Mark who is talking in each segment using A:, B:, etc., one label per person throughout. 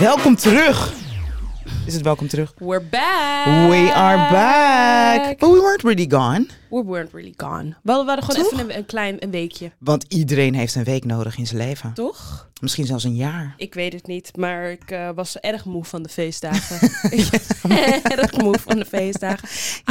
A: Welkom terug. Is het welkom terug?
B: We're back.
A: We are back. But we weren't really gone.
B: We weren't really gone. Wel, we hadden gewoon
A: Toch?
B: even een, een klein een weekje,
A: Want iedereen heeft een week nodig in zijn leven.
B: toch?
A: Misschien zelfs een jaar.
B: Ik weet het niet, maar ik eh, was erg moe van de feestdagen. Ik was erg moe van de feestdagen.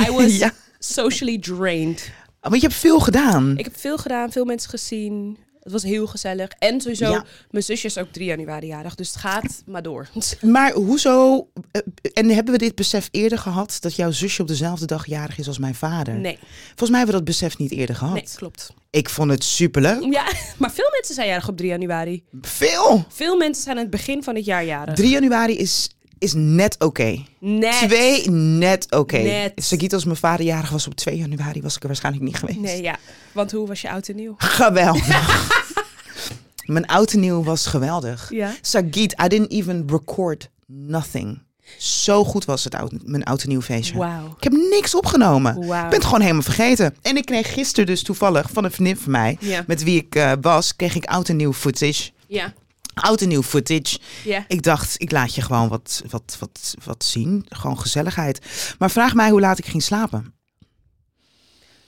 B: I was
A: Ja. Oh,
B: socially drained.
A: Want je hebt veel gedaan.
B: Ik heb veel gedaan, veel mensen gezien. Het was heel gezellig. En sowieso,
A: Ja.
B: mijn zusje is ook 3 januari jarig, dus het gaat maar door.
A: Maar hoezo? eh, En hebben we dit besef eerder gehad dat jouw zusje op dezelfde dag jarig is als mijn vader?
B: Nee,
A: Volgens mij hebben we dat besef niet eerder gehad.
B: nee, klopt.
A: Ik vond het superleuk.
B: Ja, maar veel mensen zijn jarig op 3 januari.
A: Veel.
B: Veel mensen zijn aan het begin van het jaar jarig.
A: 3 januari is, is net oké.
B: Nee.
A: Twee, net oké.
B: Net.
A: Sagiet, als mijn vader jarig was op 2 januari, was ik er waarschijnlijk niet geweest.
B: Nee, ja. Want hoe was je oud en nieuw?
A: Geweldig. mijn oud en nieuw was geweldig.
B: Ja.
A: Sagiet, I didn't even record nothing. Zo goed was het oud, mijn oud en nieuw feestje.
B: Wauw.
A: Ik heb niks opgenomen.
B: Wauw.
A: Ik ben het gewoon helemaal vergeten. En ik kreeg gisteren dus toevallig van een vriendin van mij,
B: Ja.
A: met wie ik eh, was, kreeg ik oud en nieuw footage.
B: Ja.
A: Oud en nieuw footage.
B: Ja.
A: Ik dacht, ik laat je gewoon wat, wat, wat, wat zien. Gewoon gezelligheid. Maar vraag mij hoe laat ik ging slapen.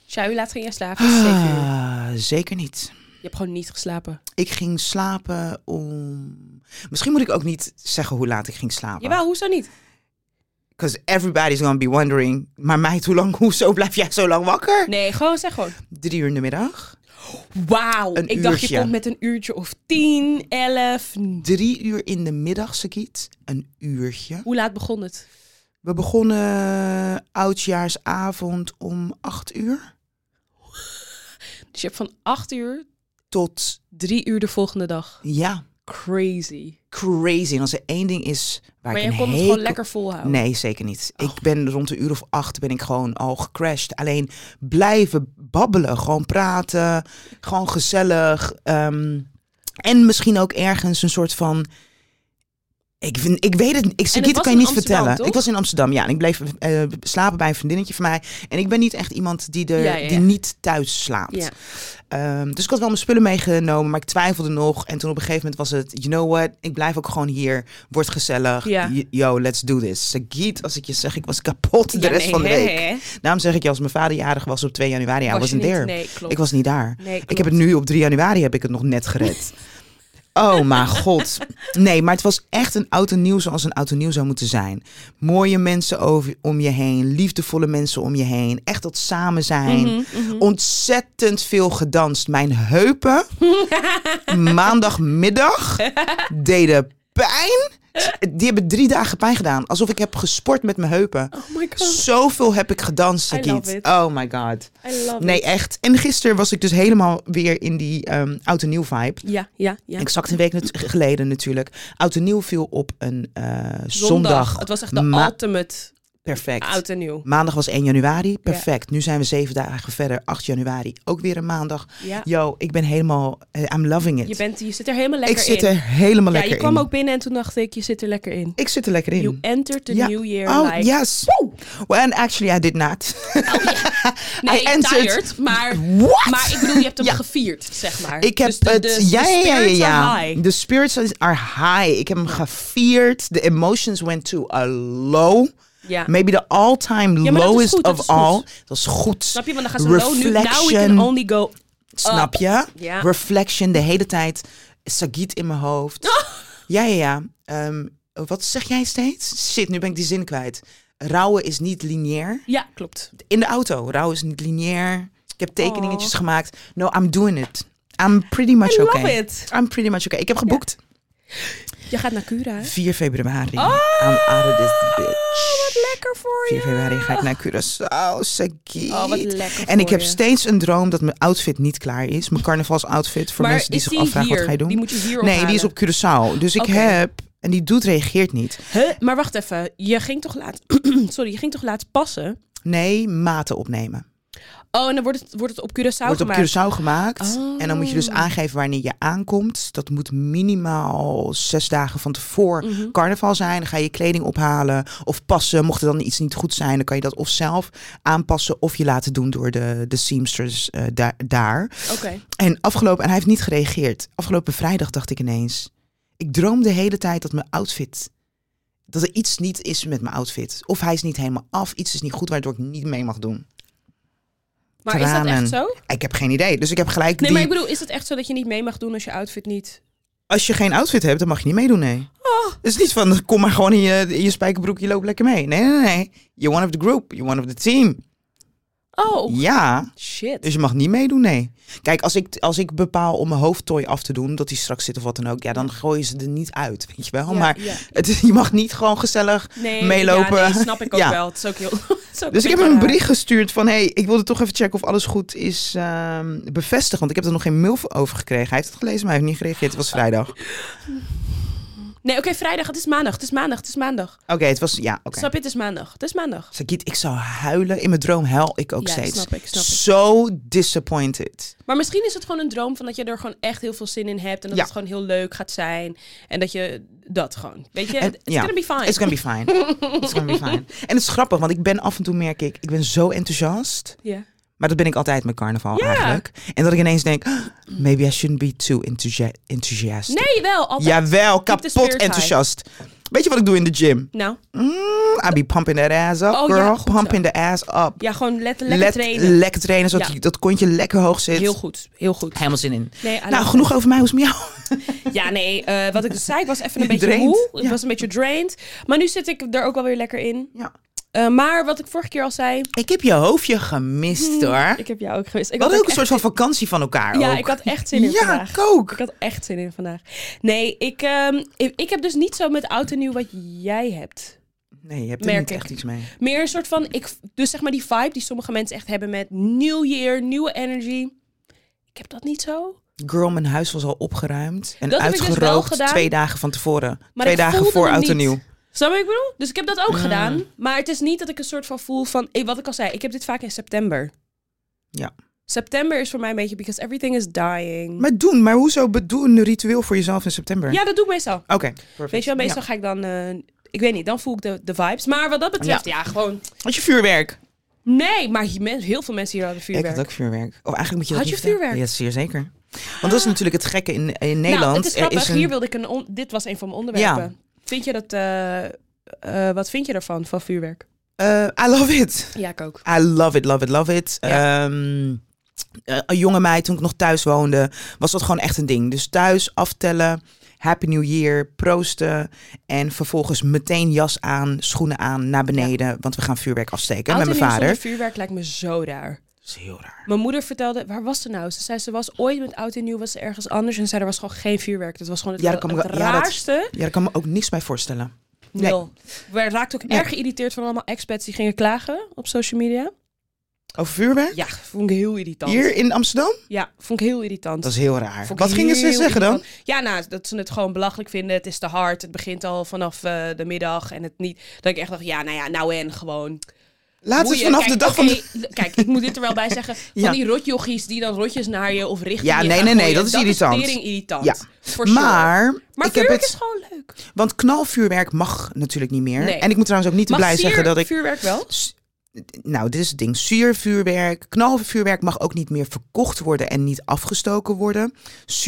B: Sja, hoe laat ging jij slapen? Het is zeven uur.
A: Ah, zeker niet.
B: Je hebt gewoon niet geslapen.
A: Ik ging slapen om... Misschien moet ik ook niet zeggen hoe laat ik ging slapen.
B: Jawel, hoezo niet?
A: Because everybody's gonna be wondering. Maar meid, hoe lang, hoezo blijf jij zo lang wakker?
B: Nee, gewoon zeg gewoon.
A: Drie uur in de middag.
B: Wauw.
A: Een
B: Ik dacht je
A: uurtje.
B: komt met een uurtje of tien, elf.
A: Drie uur in de middag, Sakiet. Een uurtje.
B: Hoe laat begon het?
A: We begonnen oudjaarsavond om acht uur.
B: Dus je hebt van acht uur,
A: Tot,
B: drie uur de volgende dag.
A: ja,
B: Crazy.
A: crazy. En als er één ding is waar
B: Maar
A: ik een
B: jij kon het
A: hekel-
B: gewoon lekker volhouden. Oh.
A: Nee, zeker niet. Ik ben rond de uur of acht ben ik gewoon al gecrashed. Alleen blijven babbelen, gewoon praten, gewoon gezellig. ehm, en misschien ook ergens een soort van... Ik, vind- ik weet het niet. Ik,
B: het
A: Sagiet,
B: was
A: kan je
B: in
A: niet
B: Amsterdam,
A: vertellen.
B: toch?
A: Ik was in Amsterdam, ja. En ik bleef eh, slapen bij een vriendinnetje van mij. En ik ben niet echt iemand die, er,
B: Ja, ja,
A: die
B: ja.
A: niet thuis slaapt.
B: Ja.
A: Ehm, dus ik had wel mijn spullen meegenomen, maar ik twijfelde nog. En toen op een gegeven moment was het, you know what, ik blijf ook gewoon hier. Wordt gezellig.
B: Ja.
A: Y- Yo, let's do this. Sagiet, als ik je zeg, ik was kapot de
B: Ja,
A: rest
B: nee,
A: van de
B: hè,
A: week.
B: hè.
A: Daarom zeg ik je, als mijn vader jarig was op 2 januari, hij
B: Was
A: was
B: je
A: een
B: niet?
A: there.
B: Nee, klopt.
A: Ik was niet daar.
B: Nee, klopt.
A: ik heb het nu op 3 januari, heb ik het nog net gered. Oh mijn god. Nee, maar het was echt een oud en nieuw zoals een oud en nieuw zou moeten zijn. Mooie mensen over, om je heen, liefdevolle mensen om je heen. Echt dat samen zijn.
B: Mhm,
A: Ontzettend veel gedanst. Mijn heupen maandagmiddag deden pijn. Die hebben drie dagen pijn gedaan. Alsof ik heb gesport met mijn heupen.
B: Oh my god.
A: Zoveel heb ik gedanst,
B: I love
A: Sakiet.
B: it.
A: Oh my god.
B: I love
A: Nee,
B: it.
A: echt. En gisteren was ik dus helemaal weer in die ehm oud en nieuw vibe.
B: Ja, ja, ja.
A: Exact een week nat- geleden natuurlijk. Oud en nieuw viel op een eh, zondag.
B: Het was echt de
A: Ma-
B: ultimate
A: perfect.
B: oud en nieuw.
A: Maandag was 1 januari. Perfect. Nu zijn we zeven dagen verder. 8 januari. Ook weer een maandag.
B: Ja.
A: Yo, ik ben helemaal... eh, I'm loving it.
B: Je, bent, je zit er helemaal lekker
A: ik zit
B: in.
A: er helemaal
B: ja,
A: lekker
B: je kwam
A: in.
B: ook binnen en toen dacht ik, je zit er lekker in.
A: Ik zit er lekker in.
B: You entered the
A: Ja.
B: new year
A: oh,
B: like...
A: yes. Well, and actually I did not.
B: Nee,
A: I answered-
B: tired, maar,
A: What?
B: maar ik bedoel, je hebt hem
A: Ja.
B: gevierd, zeg maar.
A: Ik heb
B: Dus de-
A: het.
B: de-
A: ja,
B: de
A: ja, ja,
B: spirits
A: ja.
B: are high.
A: De spirits are high. Ik heb hem gevierd. The emotions went to a low.
B: Ja.
A: Maybe the all-time
B: Ja, maar dat is
A: lowest
B: goed, dat
A: of
B: is goed.
A: all. Dat is goed.
B: Snap je? Want dan gaan ze low nu. Now we can only go... up.
A: Snap je?
B: oh, Ja.
A: Reflection de hele tijd. Sagiet in mijn hoofd. Ja, ja, ja. Ehm, wat zeg jij steeds? Shit, nu ben ik die zin kwijt. Rouwen is niet lineair.
B: Ja, klopt.
A: In de auto. Rouwen is niet lineair. Ik heb tekeningetjes gemaakt. No, I'm doing it. I'm pretty much
B: I love
A: okay.
B: it.
A: I'm pretty much okay. Ik heb geboekt.
B: Je gaat naar Cura, hè? Oh,
A: 4 februari. I'm out of this bitch.
B: Wat lekker voor
A: 4
B: je.
A: februari ga ik naar Curaçao, Sagiet.
B: Oh, wat lekker
A: en ik
B: voor
A: heb
B: je.
A: steeds een droom dat mijn outfit niet klaar is. Mijn carnavalsoutfit. Voor
B: Maar
A: mensen die
B: is
A: zich
B: die
A: afvragen wat
B: hier?
A: ga je doen.
B: Die moet je hier
A: nee, die is op
B: ophalen.
A: Curaçao. Dus ik
B: Oké.
A: heb... En die doet reageert niet.
B: Huh? Maar wacht even. Je ging toch laat... Sorry, je ging toch laat passen?
A: Nee, maten opnemen.
B: Oh, en dan wordt het, wordt het op Curaçao
A: Wordt op
B: gemaakt.
A: Curaçao gemaakt.
B: Oh.
A: En dan moet je dus aangeven wanneer je aankomt. Dat moet minimaal zes dagen van tevoren
B: Mhm.
A: carnaval zijn. Dan ga je je kleding ophalen of passen. Mocht er dan iets niet goed zijn, dan kan je dat of zelf aanpassen... of je laten doen door de, de seamsters eh, da- daar.
B: Oké.
A: En afgelopen, en hij heeft niet gereageerd. Afgelopen vrijdag dacht ik ineens. ik droom de hele tijd dat mijn outfit. Dat er iets niet is met mijn outfit. Of hij is niet helemaal af, iets is niet goed waardoor ik niet mee mag doen.
B: Maar is dat
A: tranen.
B: echt zo?
A: Ik heb geen idee. Dus ik heb gelijk.
B: Nee,
A: die,
B: maar ik bedoel, is het echt zo dat je niet mee mag doen als je outfit niet...
A: Als je geen outfit hebt, dan mag je niet meedoen, nee.
B: Oh.
A: Het is niet van kom maar gewoon in je, in je spijkerbroek, je loopt lekker mee. Nee, nee, nee. You're one of the group, you're one of the team.
B: Oh,
A: Ja.
B: shit.
A: Dus je mag niet meedoen, nee. Kijk, als ik, als ik bepaal om mijn hoofdtooi af te doen, dat die straks zit of wat dan ook, ja, dan gooien ze er niet uit, weet je wel.
B: Ja,
A: maar
B: ja.
A: het, is- je mag niet gewoon gezellig
B: Nee,
A: meelopen.
B: Ja, nee, snap ik ook
A: Ja.
B: wel. Het is ook heel... het is ook
A: Dus ik heb hem
B: raar.
A: een bericht gestuurd van, hey, ik wilde toch even checken of alles goed is ehm, bevestigd, want ik heb er nog geen mail voor over gekregen. Hij heeft het gelezen, maar hij heeft niet gereageerd. Het was vrijdag. Oké,
B: Nee, oké, vrijdag. Het is maandag. Het is maandag. Het is maandag.
A: het was, ja, oké.
B: Snap je? Het is maandag. Het is maandag.
A: Sakiet, ik zou huilen. In mijn droom huil ik ook
B: ja,
A: steeds.
B: snap ik, snap ik.
A: So disappointed.
B: Maar misschien is het gewoon een droom van dat je er gewoon echt heel veel zin in hebt. En dat
A: Ja.
B: het gewoon heel leuk gaat zijn. En dat je dat gewoon... Weet je?
A: En-
B: It's
A: ja.
B: gonna be fine.
A: It's gonna be fine. It's gonna be fine. En het is grappig, want ik ben af en toe merk ik, ik ben zo enthousiast.
B: Ja.
A: Maar dat ben ik altijd met carnaval
B: Ja.
A: eigenlijk. En dat ik ineens denk, "Ah, maybe I shouldn't be too enthusi- enthusiastic.
B: Nee, wel. Altijd.
A: Jawel,
B: Keep the spirits
A: kapot
B: high.
A: enthousiast. Weet je wat ik doe in de gym?
B: Nou,
A: Mm, I be pumping that ass up,
B: Oh ja,
A: girl.
B: goed zo.
A: pumping the ass up.
B: ja, gewoon let, lekker
A: Let-
B: trainen.
A: Lekker trainen, zodat
B: Ja.
A: je- dat kontje lekker hoog zit.
B: Heel goed. Heel goed.
A: Helemaal zin in.
B: Nee, I
A: Nou,
B: love
A: genoeg over mij, hoe is het met jou?
B: it. Ja, nee. eh, wat ik dus zei, ik was even een beetje
A: Drained.
B: moe. Ik
A: Ja.
B: was een beetje drained. Maar nu zit ik er ook wel weer lekker in.
A: Ja.
B: Eh, maar wat ik vorige keer al zei...
A: Ik heb je hoofdje gemist, hoor.
B: Hmm. Ik heb jou ook gemist. Ik
A: We hadden Ah. ook een
B: echt
A: soort van vakantie van elkaar.
B: Ja,
A: ook.
B: ik had echt zin in
A: ja,
B: vandaag.
A: ik ook.
B: Ik had echt zin in vandaag. Nee, ik, ehm, ik, ik heb dus niet zo met oud en nieuw wat jij hebt.
A: Nee, je hebt er
B: Merk
A: niet
B: ik.
A: echt iets mee.
B: Meer een soort van, ik, dus zeg maar die vibe die sommige mensen echt hebben met nieuw year, nieuwe energy. Ik heb dat niet zo.
A: Girl, mijn huis was al opgeruimd en
B: Dat heb ik dus wel
A: uitgerookt
B: gedaan.
A: twee dagen van tevoren.
B: Maar
A: twee
B: ik
A: dagen
B: voelde
A: voor
B: hem
A: oud en
B: niet.
A: nieuw.
B: Snap je wat ik bedoel? Dus ik heb dat ook gedaan. Maar het is niet dat ik een soort van voel van, eh, wat ik al zei, ik heb dit vaak in september.
A: Ja.
B: September is voor mij een beetje, because everything is dying.
A: Maar doen, maar hoezo bedoel een ritueel voor jezelf in september?
B: ja, dat doe ik meestal.
A: Oké, perfect.
B: Weet je wel, meestal ga ik dan, eh, ik weet niet, dan voel ik de, de vibes. Maar wat dat betreft, ja gewoon
A: Ja. Had je vuurwerk?
B: Nee, maar hier men- heel veel mensen hier hadden vuurwerk.
A: Ik had ook vuurwerk. Of eigenlijk moet je dat
B: Had je
A: niet vertellen.
B: vuurwerk?
A: Ja, zeer zeker. Want dat is natuurlijk het gekke in, in
B: Nou,
A: Nederland.
B: het is
A: Er
B: grappig.
A: een-
B: Hier wilde ik een... on- Dit was een van mijn onderwerpen. Vind je dat... eh, eh, wat vind je daarvan, van vuurwerk?
A: Eh, I love it.
B: Ja, ik ook.
A: I love it, love it, love it. Ehm, eh, een jonge meid, toen ik nog thuis woonde, was dat gewoon echt een ding. Dus thuis aftellen, Happy New Year, proosten. En vervolgens meteen jas aan, schoenen aan, naar beneden. Want we gaan vuurwerk afsteken met mijn vader.
B: vuurwerk lijkt me zo raar.
A: Dat is heel raar.
B: Mijn moeder vertelde... Waar was ze nou? Ze zei, ze was ooit met oud en nieuw, was ze ergens anders. En zei, er was gewoon geen vuurwerk. Dat was gewoon het,
A: Ja, dat kan ik
B: het
A: wel- ja, dat-
B: raarste.
A: Ja, daar kan ik me ook niks bij voorstellen. Nee.
B: Nul. We raakten ook
A: Nee.
B: erg geïrriteerd van allemaal expats die gingen klagen op social media.
A: Over vuurwerk?
B: Ja, vond ik heel irritant.
A: Hier in Amsterdam?
B: Ja, vond ik heel irritant.
A: Dat is heel raar.
B: Vond ik
A: Wat gingen ze
B: heel
A: zeggen dan?
B: irritant. Ja, nou, dat ze het gewoon belachelijk vinden. Het is te hard. Het begint al vanaf eh, de middag en het niet. Dat ik echt dacht, ja, nou ja, nou en gewoon.
A: Laat
B: Boeien.
A: het vanaf
B: Kijk,
A: de dag van
B: oké,
A: de...
B: l- Kijk, ik moet dit er wel bij zeggen.
A: Ja.
B: Van die rotjochies die dan rotjes naar je of richting
A: Ja,
B: je
A: nee,
B: gaan
A: nee, nee,
B: gooien,
A: dat is irritant.
B: tering irritant.
A: Ja.
B: For sure.
A: Maar,
B: maar
A: ik heb
B: vuurwerk is
A: het...
B: gewoon leuk.
A: Want knalvuurwerk mag natuurlijk niet meer.
B: Nee.
A: En ik moet trouwens ook niet te
B: Mag
A: blij
B: sier-
A: zeggen dat ik...
B: vuurwerk wel?
A: S- Nou, dit is het ding. Zuurvuurwerk, knalvuurwerk mag ook niet meer verkocht worden en niet afgestoken worden.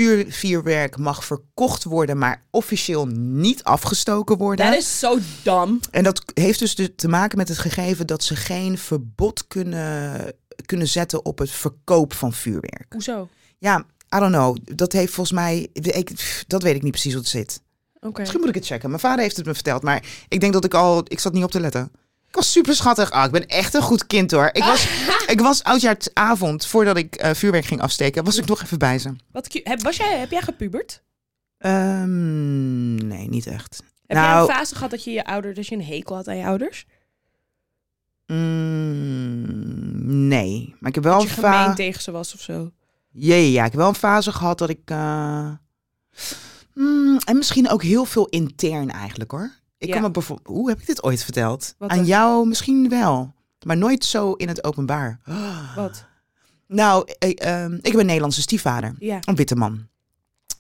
A: Zuurvuurwerk mag verkocht worden, maar officieel niet afgestoken worden.
B: Dat is zo dom.
A: En dat heeft dus de- te maken met het gegeven dat ze geen verbod kunnen, kunnen zetten op het verkoop van vuurwerk.
B: Hoezo? Oké.
A: Ja, I don't know. Dat heeft volgens mij... Ik, pff, dat weet ik niet precies hoe het zit. Misschien moet ik het checken. Mijn vader heeft het me verteld, maar ik denk dat ik al... Ik zat niet op te letten. Ik was super schattig. Ah, ik ben echt een goed kind hoor. Ik was, ik was oudjaarsavond, voordat ik eh, vuurwerk ging afsteken, was ik nog even bij ze.
B: Wat cute. Heb, was jij, heb jij gepubert?
A: Ehm, nee, niet echt.
B: Heb jij
A: Nou-
B: een fase gehad dat je je ouder, dat je een hekel had aan je ouders?
A: Mm, nee, maar ik heb wel
B: Dat je
A: een
B: gemeen
A: fase...
B: tegen ze was of zo?
A: Jee, ja, ik heb wel een fase gehad dat ik... eh, mm, en misschien ook heel veel intern eigenlijk hoor. Ik
B: Ja.
A: kan me bijvoorbeeld... Hoe heb ik dit ooit verteld?
B: Wat
A: Aan
B: dan?
A: jou misschien wel, maar nooit zo in het openbaar. eh,
B: Wat?
A: Nou, ik, ehm, ik heb een Nederlandse stiefvader.
B: Ja.
A: Een witte man.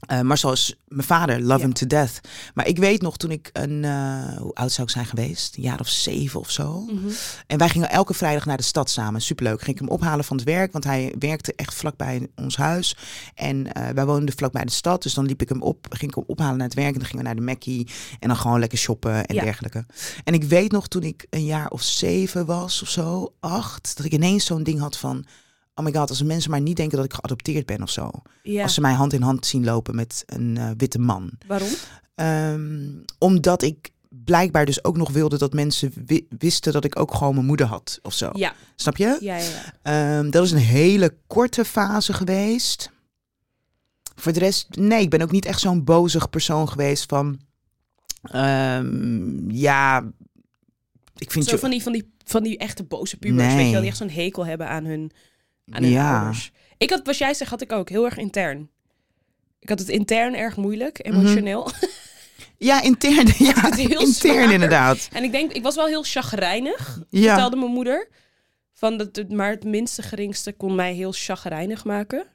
A: Eh, Marcel is mijn vader, love
B: Ja.
A: him to death. Maar ik weet nog toen ik een, eh, hoe oud zou ik zijn geweest? Een jaar of zeven of zo.
B: Mhm.
A: En wij gingen elke vrijdag naar de stad samen. Superleuk. Ging ik hem ophalen van het werk, want hij werkte echt vlakbij ons huis. En eh, wij woonden vlakbij de stad. Dus dan liep ik hem op, ging ik hem ophalen naar het werk. En dan gingen we naar de Mackie. En dan gewoon lekker shoppen en
B: Ja.
A: dergelijke. En ik weet nog toen ik een jaar of zeven was of zo, acht, dat ik ineens zo'n ding had van. Oh my god, als mensen maar niet denken dat ik geadopteerd ben of zo.
B: Ja,
A: Als ze mij hand in hand zien lopen met een eh, witte man.
B: waarom?
A: Ehm, omdat ik blijkbaar dus ook nog wilde dat mensen wi- wisten dat ik ook gewoon mijn moeder had of zo.
B: Ja,
A: Snap je?
B: ja, ja. ja.
A: Ehm, dat is een hele korte fase geweest. Voor de rest, nee, ik ben ook niet echt zo'n bozig persoon geweest van, ehm, ja, ik vind
B: Zo
A: je...
B: van die, van, die, van die echte boze pubers,
A: Nee.
B: weet je wel, die echt zo'n hekel hebben aan hun, aan hun
A: Ja.
B: ouders. Ik had, wat jij zegt, had ik ook, heel erg intern. Ik had het intern erg moeilijk,
A: Mhm.
B: emotioneel.
A: Ja, intern. Ja,
B: het heel
A: intern
B: zwaar.
A: inderdaad.
B: En ik denk, ik was wel heel chagrijnig,
A: Ja.
B: vertelde mijn moeder. Van dat, het- maar het minste geringste kon mij heel chagrijnig maken.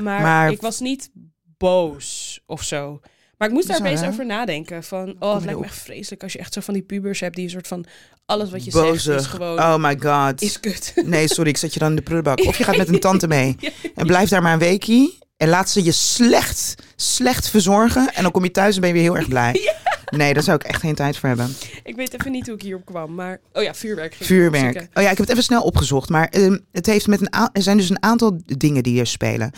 B: Maar,
A: Maar-
B: ik was niet boos of zo. Maar ik moest daar
A: Zo,
B: opeens
A: hè?
B: over nadenken. Van, oh,
A: je
B: het lijkt
A: erop?
B: me echt vreselijk als je echt zo van die pubers hebt... die een soort van, alles wat je zegt is
A: Bozig.
B: gewoon,
A: Oh my god.
B: is kut.
A: Nee, sorry, ik zet je dan in de prullenbak. Of je gaat met een tante mee en blijf daar maar een weekie. En laat ze je slecht, slecht verzorgen. En dan kom je thuis en ben je weer heel erg blij. Nee, daar zou ik echt geen tijd voor hebben.
B: Ik weet even niet hoe ik hierop kwam, maar... Oh ja, vuurwerk. ging ik
A: Vuurwerk.
B: opzoeken.
A: Oh ja, ik heb het even snel opgezocht. Maar ehm, het heeft met een a- er zijn dus een aantal dingen die er spelen.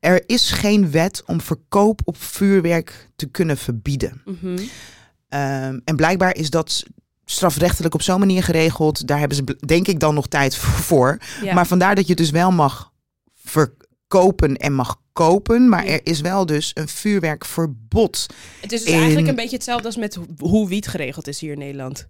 A: Er is geen wet om verkoop op vuurwerk te kunnen verbieden.
B: Mhm.
A: Ehm, en blijkbaar is dat strafrechtelijk op zo'n manier geregeld. Daar hebben ze bl- denk ik dan nog tijd v- voor.
B: Ja.
A: Maar vandaar dat je het dus wel mag verkopen en mag kopen. Maar
B: Ja.
A: er is wel dus een vuurwerkverbod.
B: Het is dus
A: in-
B: eigenlijk een beetje hetzelfde als met ho- hoe wiet geregeld is hier in Nederland.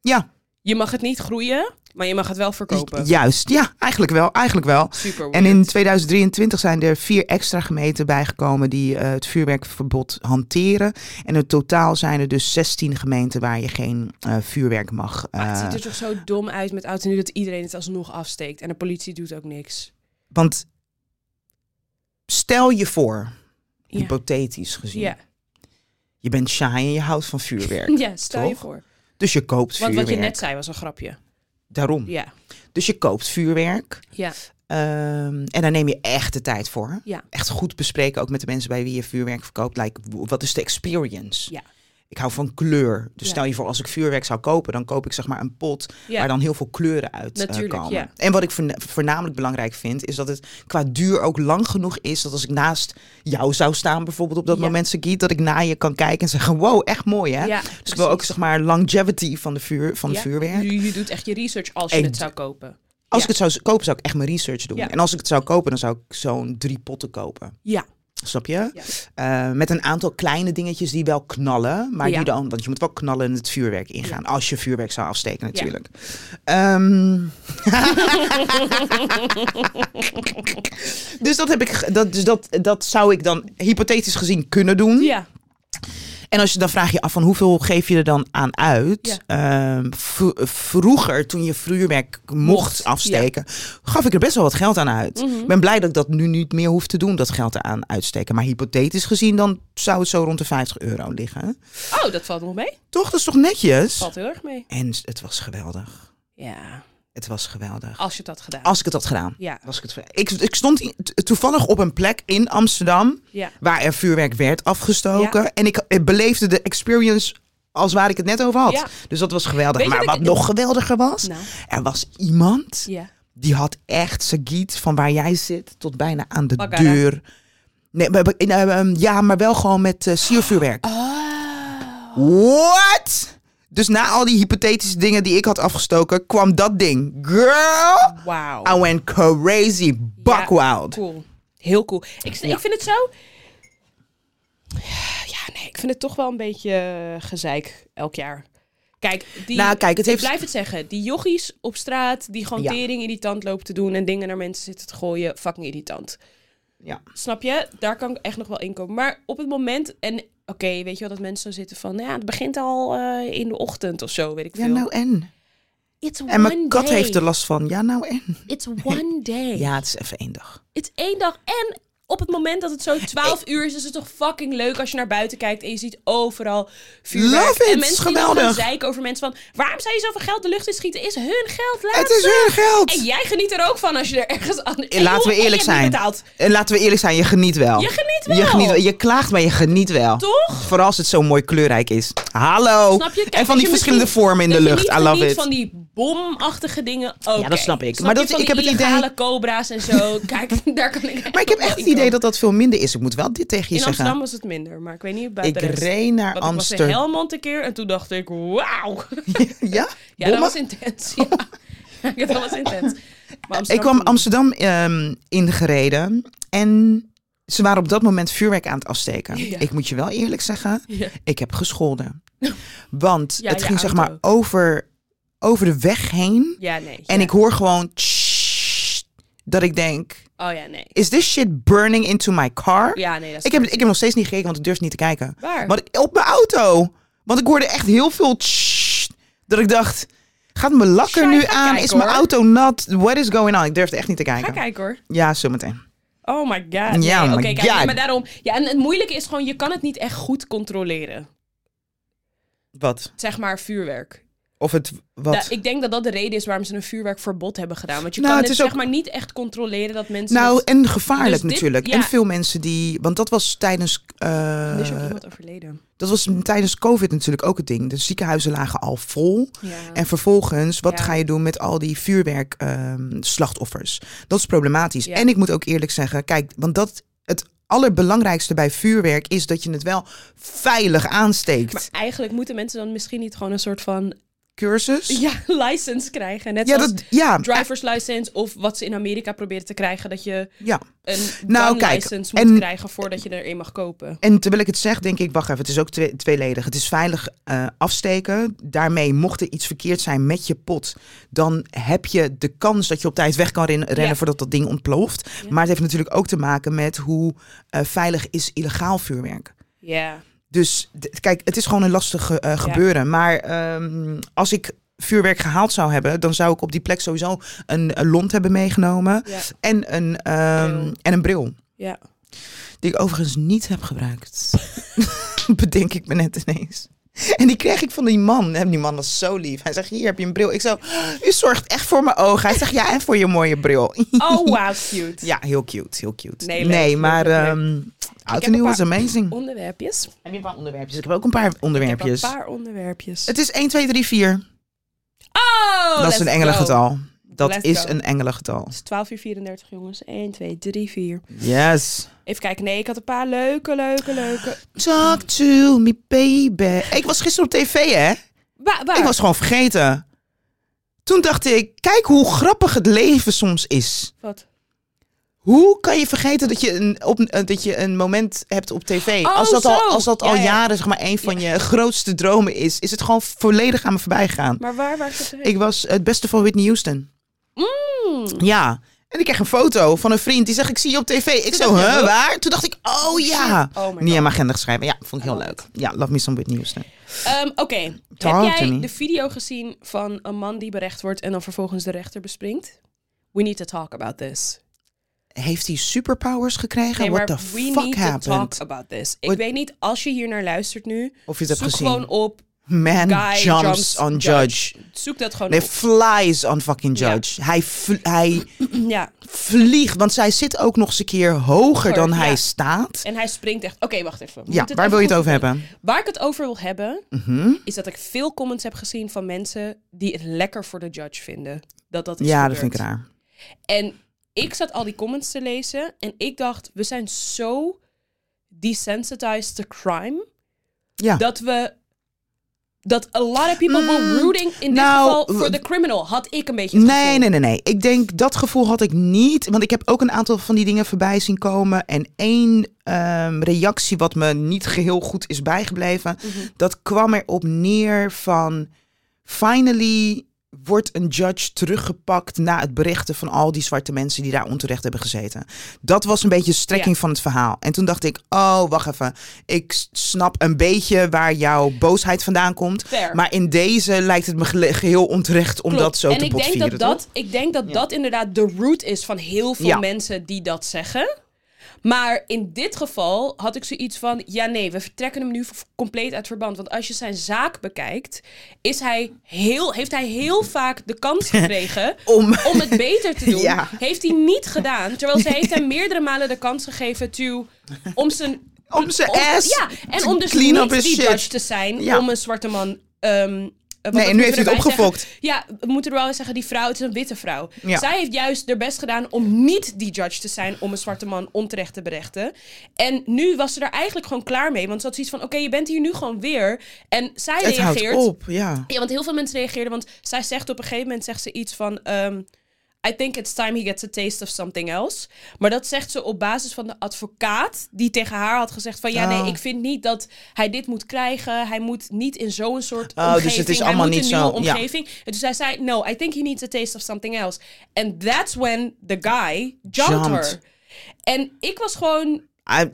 A: Ja,
B: Je mag het niet groeien, maar je mag het wel verkopen.
A: Dus juist. Ja, eigenlijk wel. Eigenlijk wel.
B: Super
A: En in 2023 zijn er vier extra gemeenten bijgekomen die eh, het vuurwerkverbod hanteren. En in totaal zijn er dus 16 gemeenten waar je geen eh, vuurwerk mag.
B: Maar Ah, het
A: eh,
B: ziet er toch zo dom uit met oud en nieuw dat iedereen het alsnog afsteekt. En de politie doet ook niks.
A: Want stel je voor,
B: Ja.
A: hypothetisch gezien,
B: Ja,
A: je bent shy en je houdt van vuurwerk.
B: ja stel je
A: Toch?
B: voor.
A: Dus je koopt
B: Want
A: vuurwerk.
B: wat je net zei was een grapje.
A: Daarom.
B: Ja,
A: Dus je koopt vuurwerk.
B: ja.
A: ehm, en daar neem je echt de tijd voor.
B: Ja.
A: Echt goed bespreken, ook met de mensen bij wie je vuurwerk verkoopt. Like, w- wat is de experience?
B: Ja.
A: Ik hou van kleur. Dus
B: Ja.
A: stel je voor, als ik vuurwerk zou kopen, dan koop ik zeg maar een pot
B: Ja.
A: waar dan heel veel kleuren uit eh,
B: Natuurlijk,
A: komen.
B: ja.
A: En wat ik voorn- voornamelijk belangrijk vind, is dat het qua duur ook lang genoeg is dat als ik naast jou zou staan, bijvoorbeeld op dat
B: Ja.
A: moment, Sagiet, dat ik naar je kan kijken en zeggen, wow, echt mooi hè?
B: Ja,
A: dus ik wil ook
B: precies.
A: zeg maar longevity van, de vuur, van
B: Ja.
A: het vuurwerk.
B: Je, je doet echt je research als je
A: En-
B: het zou kopen.
A: Als ik
B: Ja.
A: het zou z- kopen, zou ik echt mijn research doen.
B: Ja.
A: En als ik het zou kopen, dan zou ik zo'n drie potten kopen.
B: Ja,
A: Snap je?
B: Ja.
A: Eh, met een aantal kleine dingetjes die wel knallen. Maar
B: Ja.
A: die dan, want je moet wel knallen in het vuurwerk ingaan. Als je vuurwerk zou afsteken natuurlijk. Ehm, dus dat, heb ik, ge- dat, dus dat, dat zou ik dan hypothetisch gezien kunnen doen.
B: ja.
A: En als je dan vraag je af van hoeveel geef je er dan aan uit? Ehm, v- vroeger, toen je vuurwerk mocht
B: Mocht,
A: afsteken, gaf ik er best wel wat geld aan uit. Ik ben blij dat ik dat nu niet meer hoef te doen, dat geld eraan uitsteken. Maar hypothetisch gezien, dan zou het zo rond de 50 euro liggen.
B: Oh, dat valt nog mee.
A: Toch, dat is toch netjes?
B: Valt heel erg mee.
A: En s- het was geweldig.
B: Ja,
A: Het was geweldig.
B: als je dat gedaan.
A: Als ik het had gedaan.
B: Ja,
A: Was ik, het, ik, ik stond i- t- toevallig op een plek in Amsterdam
B: ja.
A: waar er vuurwerk werd afgestoken. En ik eh, beleefde de experience als waar ik het net over had.
B: Ja.
A: Dus dat was geweldig.
B: Weet je
A: maar
B: dat
A: wat
B: ik-
A: nog geweldiger was,
B: Nou,
A: er was iemand
B: ja.
A: die had echt zijn giet van waar jij zit tot bijna aan de
B: Bakkara.
A: deur. Nee, maar- maar- eh, eh, ja, maar wel gewoon met eh siervuurwerk. Ah.
B: Oh.
A: What? Dus na al die hypothetische dingen die ik had afgestoken, kwam dat ding. Girl,
B: Wauw.
A: I went crazy. Buck wild.
B: Cool. Heel cool. Ik,
A: Ja.
B: ik vind het zo. Ja, nee, ik vind het toch wel een beetje eh, gezeik elk jaar. Kijk, die,
A: Nou, kijk, het
B: ik
A: heeft-
B: blijf het zeggen. Die jochies op straat die gewoon
A: Ja.
B: tering irritant lopen te doen en dingen naar mensen zitten te gooien, fucking irritant.
A: Ja.
B: Snap je? Daar kan ik echt nog wel in komen. Maar op het moment, en oké, weet je wel, dat mensen zo zitten van, nou ja, het begint al eh, in de ochtend of zo, weet ik
A: Ja,
B: veel.
A: nou en?
B: It's one
A: En mijn kat
B: day.
A: heeft er last van. Ja, nou en?
B: It's one day.
A: Ja, het is even één dag.
B: Het is één dag en op het moment dat het zo 12 uur is, is het toch fucking leuk als je naar buiten kijkt en je ziet overal vuurwerk.
A: Love it,
B: en mensen die dan
A: geweldig.
B: gaan zeiken over mensen van, waarom zou je zoveel geld de lucht in schieten? Is hun geld laat.
A: Het is hun geld.
B: En jij geniet er ook van als je er ergens aan... En
A: laten we
B: joh, en je
A: eerlijk
B: hebt
A: zijn.
B: niet betaald.
A: En laten we eerlijk zijn, je geniet wel.
B: Je geniet wel.
A: Je, geniet wel. je klaagt, maar je geniet wel.
B: Toch?
A: Vooral als het zo mooi kleurrijk is. Hallo.
B: Snap je? Kijk,
A: en van
B: dat
A: die
B: je
A: verschillende
B: misschien-
A: vormen in de
B: dat je
A: lucht.
B: Niet
A: I love
B: geniet
A: it.
B: van die bomachtige dingen.
A: Ja, dat snap ik.
B: maar
A: Maar
B: dat,
A: dat-
B: van
A: ik
B: die
A: heb het idee-
B: illegale cobra's en zo. Kijk, daar kan ik.
A: Maar ik heb echt het idee dat dat veel minder is. Ik moet wel dit tegen je
B: In
A: zeggen.
B: Amsterdam was het minder, maar ik weet niet bij
A: ik
B: de rest.
A: reed naar
B: Want ik was in
A: Amsterdam.
B: Helmond een keer en toen dacht ik, wauw.
A: Ja?
B: Ja, dat
A: Bommen?
B: was intens. Ja, Ja, dat was intens. Maar
A: Ik kwam Amsterdam ehm, ingereden en ze waren op dat moment vuurwerk aan het afsteken.
B: Ja.
A: Ik moet je wel eerlijk zeggen,
B: Ja.
A: ik heb gescholden. Want
B: Ja,
A: het
B: je
A: ging zeg
B: auto.
A: maar over, over de weg heen.
B: Ja, nee.
A: En
B: ja.
A: ik hoor gewoon tssst, dat ik denk,
B: Oh ja, nee.
A: is this shit burning into my car?
B: Ja, nee, dat is
A: Ik heb, ik heb nog steeds niet gekeken, want ik durf niet te kijken.
B: waar.
A: Maar op mijn auto. Want ik hoorde echt heel veel tssst, dat ik dacht, gaat mijn lakker
B: Ja,
A: nu
B: ga
A: aan?
B: kijken,
A: is mijn
B: hoor.
A: auto nat? What is going on? Ik durfde echt niet te
B: Ga
A: kijken.
B: kijken hoor.
A: Ja, zometeen.
B: Oh my god.
A: Ja,
B: nee,
A: my
B: oké, kijk,
A: god.
B: maar daarom. Ja, en het moeilijke is gewoon, je kan het niet echt goed controleren.
A: Wat?
B: Zeg maar vuurwerk.
A: Of het wat?
B: Da- ik denk dat dat de reden is waarom ze een vuurwerkverbod hebben gedaan. Want je
A: Nou,
B: kan het,
A: het is
B: zeg
A: ook-
B: maar niet echt controleren dat mensen.
A: nou,
B: het-
A: en gevaarlijk
B: Dus dit-
A: natuurlijk.
B: ja.
A: En veel mensen die. Want dat was tijdens. eh,
B: er is ook iemand overleden.
A: dat was tijdens COVID natuurlijk ook het ding. De ziekenhuizen lagen al vol.
B: Ja.
A: En vervolgens, wat
B: Ja.
A: ga je doen met al die vuurwerkslachtoffers? dat is problematisch.
B: Ja.
A: En ik moet ook eerlijk zeggen, kijk, want dat het allerbelangrijkste bij vuurwerk is dat je het wel veilig aansteekt.
B: Maar eigenlijk moeten mensen dan misschien niet gewoon een soort van
A: Cursus?
B: ja, license krijgen. Net
A: ja,
B: zoals
A: dat, ja,
B: driver's license of wat ze in Amerika proberen te krijgen. Dat je
A: ja.
B: een
A: Nou,
B: nou,
A: kijk,
B: license moet
A: en-
B: krijgen voordat je er een mag kopen.
A: En terwijl ik het zeg, denk ik, wacht even, het is ook twee- tweeledig. Het is veilig eh, afsteken. Daarmee mocht er iets verkeerd zijn met je pot, dan heb je de kans dat je op tijd weg kan ren- rennen
B: Ja.
A: voordat dat ding ontploft. Maar het heeft natuurlijk ook te maken met hoe eh, veilig is illegaal vuurwerk.
B: Ja.
A: Dus d- kijk, het is gewoon een lastige eh, gebeuren. Maar ehm, als ik vuurwerk gehaald zou hebben, dan zou ik op die plek sowieso een, een lont hebben meegenomen
B: Ja.
A: en een, ehm,
B: Bril.
A: En een bril.
B: ja.
A: Die ik overigens niet heb gebruikt. Bedenk ik me net ineens. En die kreeg ik van die man. En die man was zo lief. Hij zegt, hier heb je een bril. Ik zo, u zorgt echt voor mijn ogen. Hij zegt, ja, en voor je mooie bril.
B: Oh, wow, cute.
A: Ja, heel cute, heel cute.
B: Nee,
A: Nee,
B: leuk, leuk,
A: maar
B: leuk, leuk.
A: ehm
B: heb
A: oud
B: een
A: en nieuw
B: paar-
A: was amazing.
B: Onderwerpjes.
A: Heb je een paar onderwerpjes? Ik heb ook een paar
B: Ik heb een
A: onderwerpjes.
B: paar onderwerpjes.
A: Het is 1, 2, 3, 4.
B: Oh,
A: dat is een
B: let's go.
A: engelengetal. Dat
B: Let's
A: is
B: go.
A: een engelengetal.
B: Het is 12 uur 34, jongens. 1, 2, 3, 4.
A: Yes.
B: Even kijken. Nee, ik had een paar leuke, leuke, leuke.
A: Talk to me, baby. Ik was gisteren op tv, hè?
B: Wa- waar?
A: Ik was gewoon vergeten. Toen dacht ik, kijk hoe grappig het leven soms is.
B: Wat?
A: Hoe kan je vergeten dat je een, op, eh, dat je een moment hebt op tv?
B: Oh,
A: als dat
B: zo.
A: al, als dat al
B: Ja, ja.
A: jaren zeg maar, een van je grootste dromen is, is het gewoon volledig aan me voorbij gegaan.
B: Maar waar waar ik het
A: Ik was het beste van Whitney Houston.
B: Mm.
A: Ja. En ik kreeg een foto van een vriend die zegt, ik zie je op tv. Ik zo,
B: dacht je,
A: huh,
B: huh?
A: waar? Toen dacht ik, oh ja.
B: Oh my
A: Niet aan
B: god.
A: mijn agenda geschreven. Ja, vond ik heel
B: I love
A: leuk. Ja, love me some Whitney Houston.
B: Ehm, Oké. Heb
A: Talk to
B: jij
A: me.
B: de video gezien van een man die berecht wordt en dan vervolgens de rechter bespringt? We need to talk about this.
A: Heeft hij superpowers gekregen? What the
B: we
A: fuck
B: need to
A: happened?
B: talk about this. Ik
A: What-
B: weet niet, als je hier naar luistert nu,
A: Of je het
B: zoek
A: hebt gezien.
B: gewoon op.
A: Man
B: Guy
A: jumps,
B: jumps
A: on
B: judge.
A: judge.
B: Zoek dat gewoon
A: Nee,
B: op.
A: flies on fucking
B: Ja.
A: judge. Hij, vl- hij
B: Ja.
A: vliegt, want zij zit ook nog eens een keer hoger dan
B: ja.
A: hij staat.
B: En hij springt echt. Oké, wacht even. We
A: Ja,
B: moeten
A: waar
B: even
A: wil je het
B: goed
A: over
B: vertellen.
A: hebben?
B: Waar ik het over wil hebben,
A: Mhm.
B: is dat ik veel comments heb gezien van mensen die het lekker voor de judge vinden. Dat dat is
A: Ja, dat
B: gebeurd.
A: vind ik raar.
B: En ik zat al die comments te lezen en ik dacht, we zijn zo desensitized to crime
A: Ja.
B: dat we dat a lot of people were rooting in dit
A: nou,
B: geval voor
A: w-
B: de criminal. Had ik een beetje het
A: Nee,
B: gevoel.
A: nee, nee, nee. Ik denk dat gevoel had ik niet. Want ik heb ook een aantal van die dingen voorbij zien komen. En één ehm, reactie wat me niet geheel goed is bijgebleven.
B: Mhm.
A: Dat kwam erop neer van. Finally wordt een judge teruggepakt na het berichten van al die zwarte mensen die daar onterecht hebben gezeten. Dat was een beetje de strekking van het verhaal. En toen dacht ik, oh, wacht even. Ik s- snap een beetje waar jouw boosheid vandaan komt.
B: Fair.
A: Maar in deze lijkt het me gele- geheel onterecht om
B: Klopt.
A: dat zo
B: en
A: te
B: ik denk
A: botvieren.
B: dat dat, ik denk dat dat inderdaad de root is van heel veel
A: Ja.
B: mensen die dat zeggen. Maar in dit geval had ik zoiets van: ja, nee, we vertrekken hem nu v- compleet uit verband. Want als je zijn zaak bekijkt, is hij heel, heeft hij heel vaak de kans gekregen
A: Om.
B: om het beter te doen.
A: Ja.
B: Heeft hij niet gedaan. Terwijl ze heeft hem meerdere malen de kans gegeven to, om zijn.
A: Om zijn
B: om-
A: ass.
B: Ja, en om dus
A: clean up
B: niet
A: his
B: die
A: shit.
B: judge te zijn
A: Ja.
B: om een zwarte man. ehm eh,
A: Nee,
B: want
A: en nu
B: dat
A: heeft hij
B: moeten
A: het
B: we erbij zeggen.
A: opgefokt.
B: Ja, we moeten er wel eens zeggen, die vrouw, het is een witte vrouw.
A: Ja.
B: Zij heeft juist haar best gedaan om niet die judge te zijn om een zwarte man onterecht te berechten. En nu was ze daar eigenlijk gewoon klaar mee. Want ze had zoiets van, oké, je bent hier nu gewoon weer. En zij
A: Het houdt
B: reageert...
A: op, ja.
B: Ja, want heel veel mensen reageerden, want zij zegt op een gegeven moment zegt ze iets van... ehm, I think it's time he gets a taste of something else. Maar dat zegt ze op basis van de advocaat die tegen haar had gezegd van... ja,
A: Oh.
B: nee, ik vind niet dat hij dit moet krijgen. Hij moet niet in zo'n soort
A: Oh, dus het
B: omgeving.
A: is allemaal
B: hij moet
A: niet
B: een
A: zo,
B: nieuwe
A: ja.
B: omgeving. En toen zei zij, no, I think he needs a taste of something else. And that's when the guy jumped,
A: Jumped.
B: her. En ik was gewoon...
A: Hij-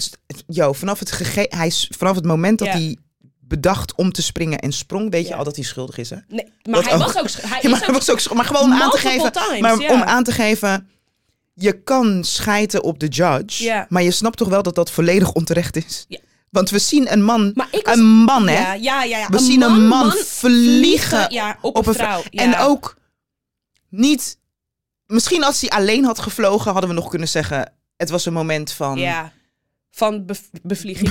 A: Yo, vanaf het, gege- hij, is- vanaf het moment dat
B: Ja.
A: hij bedacht om te springen en sprong, weet je
B: Ja.
A: al dat hij schuldig is, hè?
B: Nee, maar
A: Dat
B: hij
A: ook.
B: was ook... sch- Hij
A: Ja, maar,
B: is
A: hij
B: ook
A: was ook sch- maar gewoon om aan te
B: Multiple
A: geven.
B: times,
A: maar
B: ja.
A: om aan te geven. Je kan schijten op de judge.
B: Ja.
A: Maar je snapt toch wel dat dat volledig onterecht is.
B: Ja.
A: Want we zien een man.
B: Maar ik was-
A: een man, hè?
B: Ja, ja, ja. ja.
A: We
B: Een
A: zien een man vliegen
B: ja, op,
A: op
B: een
A: een
B: vrouw. ja.
A: En ook niet. Misschien als hij alleen had gevlogen, hadden we nog kunnen zeggen. Het was een moment van.
B: Ja. Van bev- bevlieging.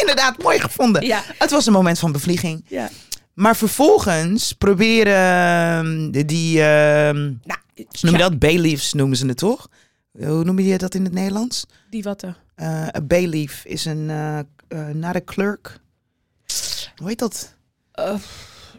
A: Inderdaad, mooi gevonden.
B: ja.
A: Het was een moment van bevlieging.
B: ja.
A: Maar vervolgens proberen ehm, die. ehm,
B: Nou,
A: Noem je
B: ja,
A: dat? Bayleaves noemen ze het toch? Hoe noem je dat in het Nederlands?
B: Die watten.
A: Eh, Een bayleaf is een, eh eh, naar de clerk. Hoe heet dat?
B: Eh,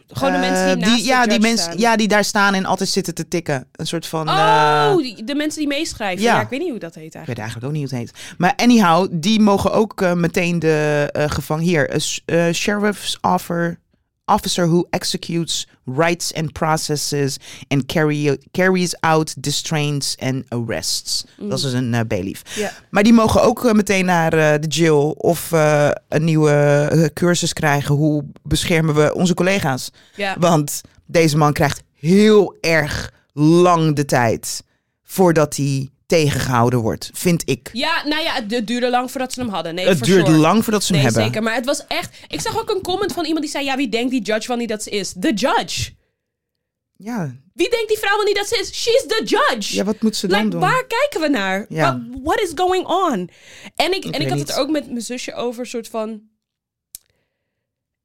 B: gewoon de
A: Eh,
B: mensen die naast de
A: ja, die
B: judge
A: mensen,
B: staan.
A: Ja, die daar staan en altijd zitten te tikken. Een soort van... eh,
B: Oh, die- de mensen die meeschrijven.
A: ja.
B: Ja. ik weet niet hoe dat heet
A: ik
B: eigenlijk.
A: weet eigenlijk ook niet hoe het heet. Maar anyhow, die mogen ook eh, meteen de eh gevang... Hier, a s- eh, sheriff's offer, officer who executes rights and processes... and carry, carries out distraints and arrests. Dat is dus een eh, bayleaf.
B: Ja.
A: Maar die mogen ook eh, meteen naar eh, de jail of eh, een nieuwe eh, cursus krijgen. Hoe beschermen we onze collega's?
B: Ja.
A: Want deze man krijgt heel erg lang de tijd voordat hij tegengehouden wordt, vind ik.
B: ja, nou ja, het duurde lang voordat ze hem hadden. Nee,
A: Het
B: for
A: duurt
B: sure.
A: lang voordat ze hem
B: Nee,
A: hebben.
B: zeker. Maar het was echt... Ik zag ook een comment van iemand die zei... Ja, wie denkt die judge wel niet dat ze is? The judge.
A: Ja.
B: Wie denkt die vrouw wel niet dat ze is? She's the judge.
A: ja, wat moet ze dan
B: Like,
A: doen?
B: waar kijken we naar?
A: Ja.
B: Wat what is going on? En ik, en
A: weet
B: ik had
A: niet.
B: het er ook met mijn zusje over, soort van...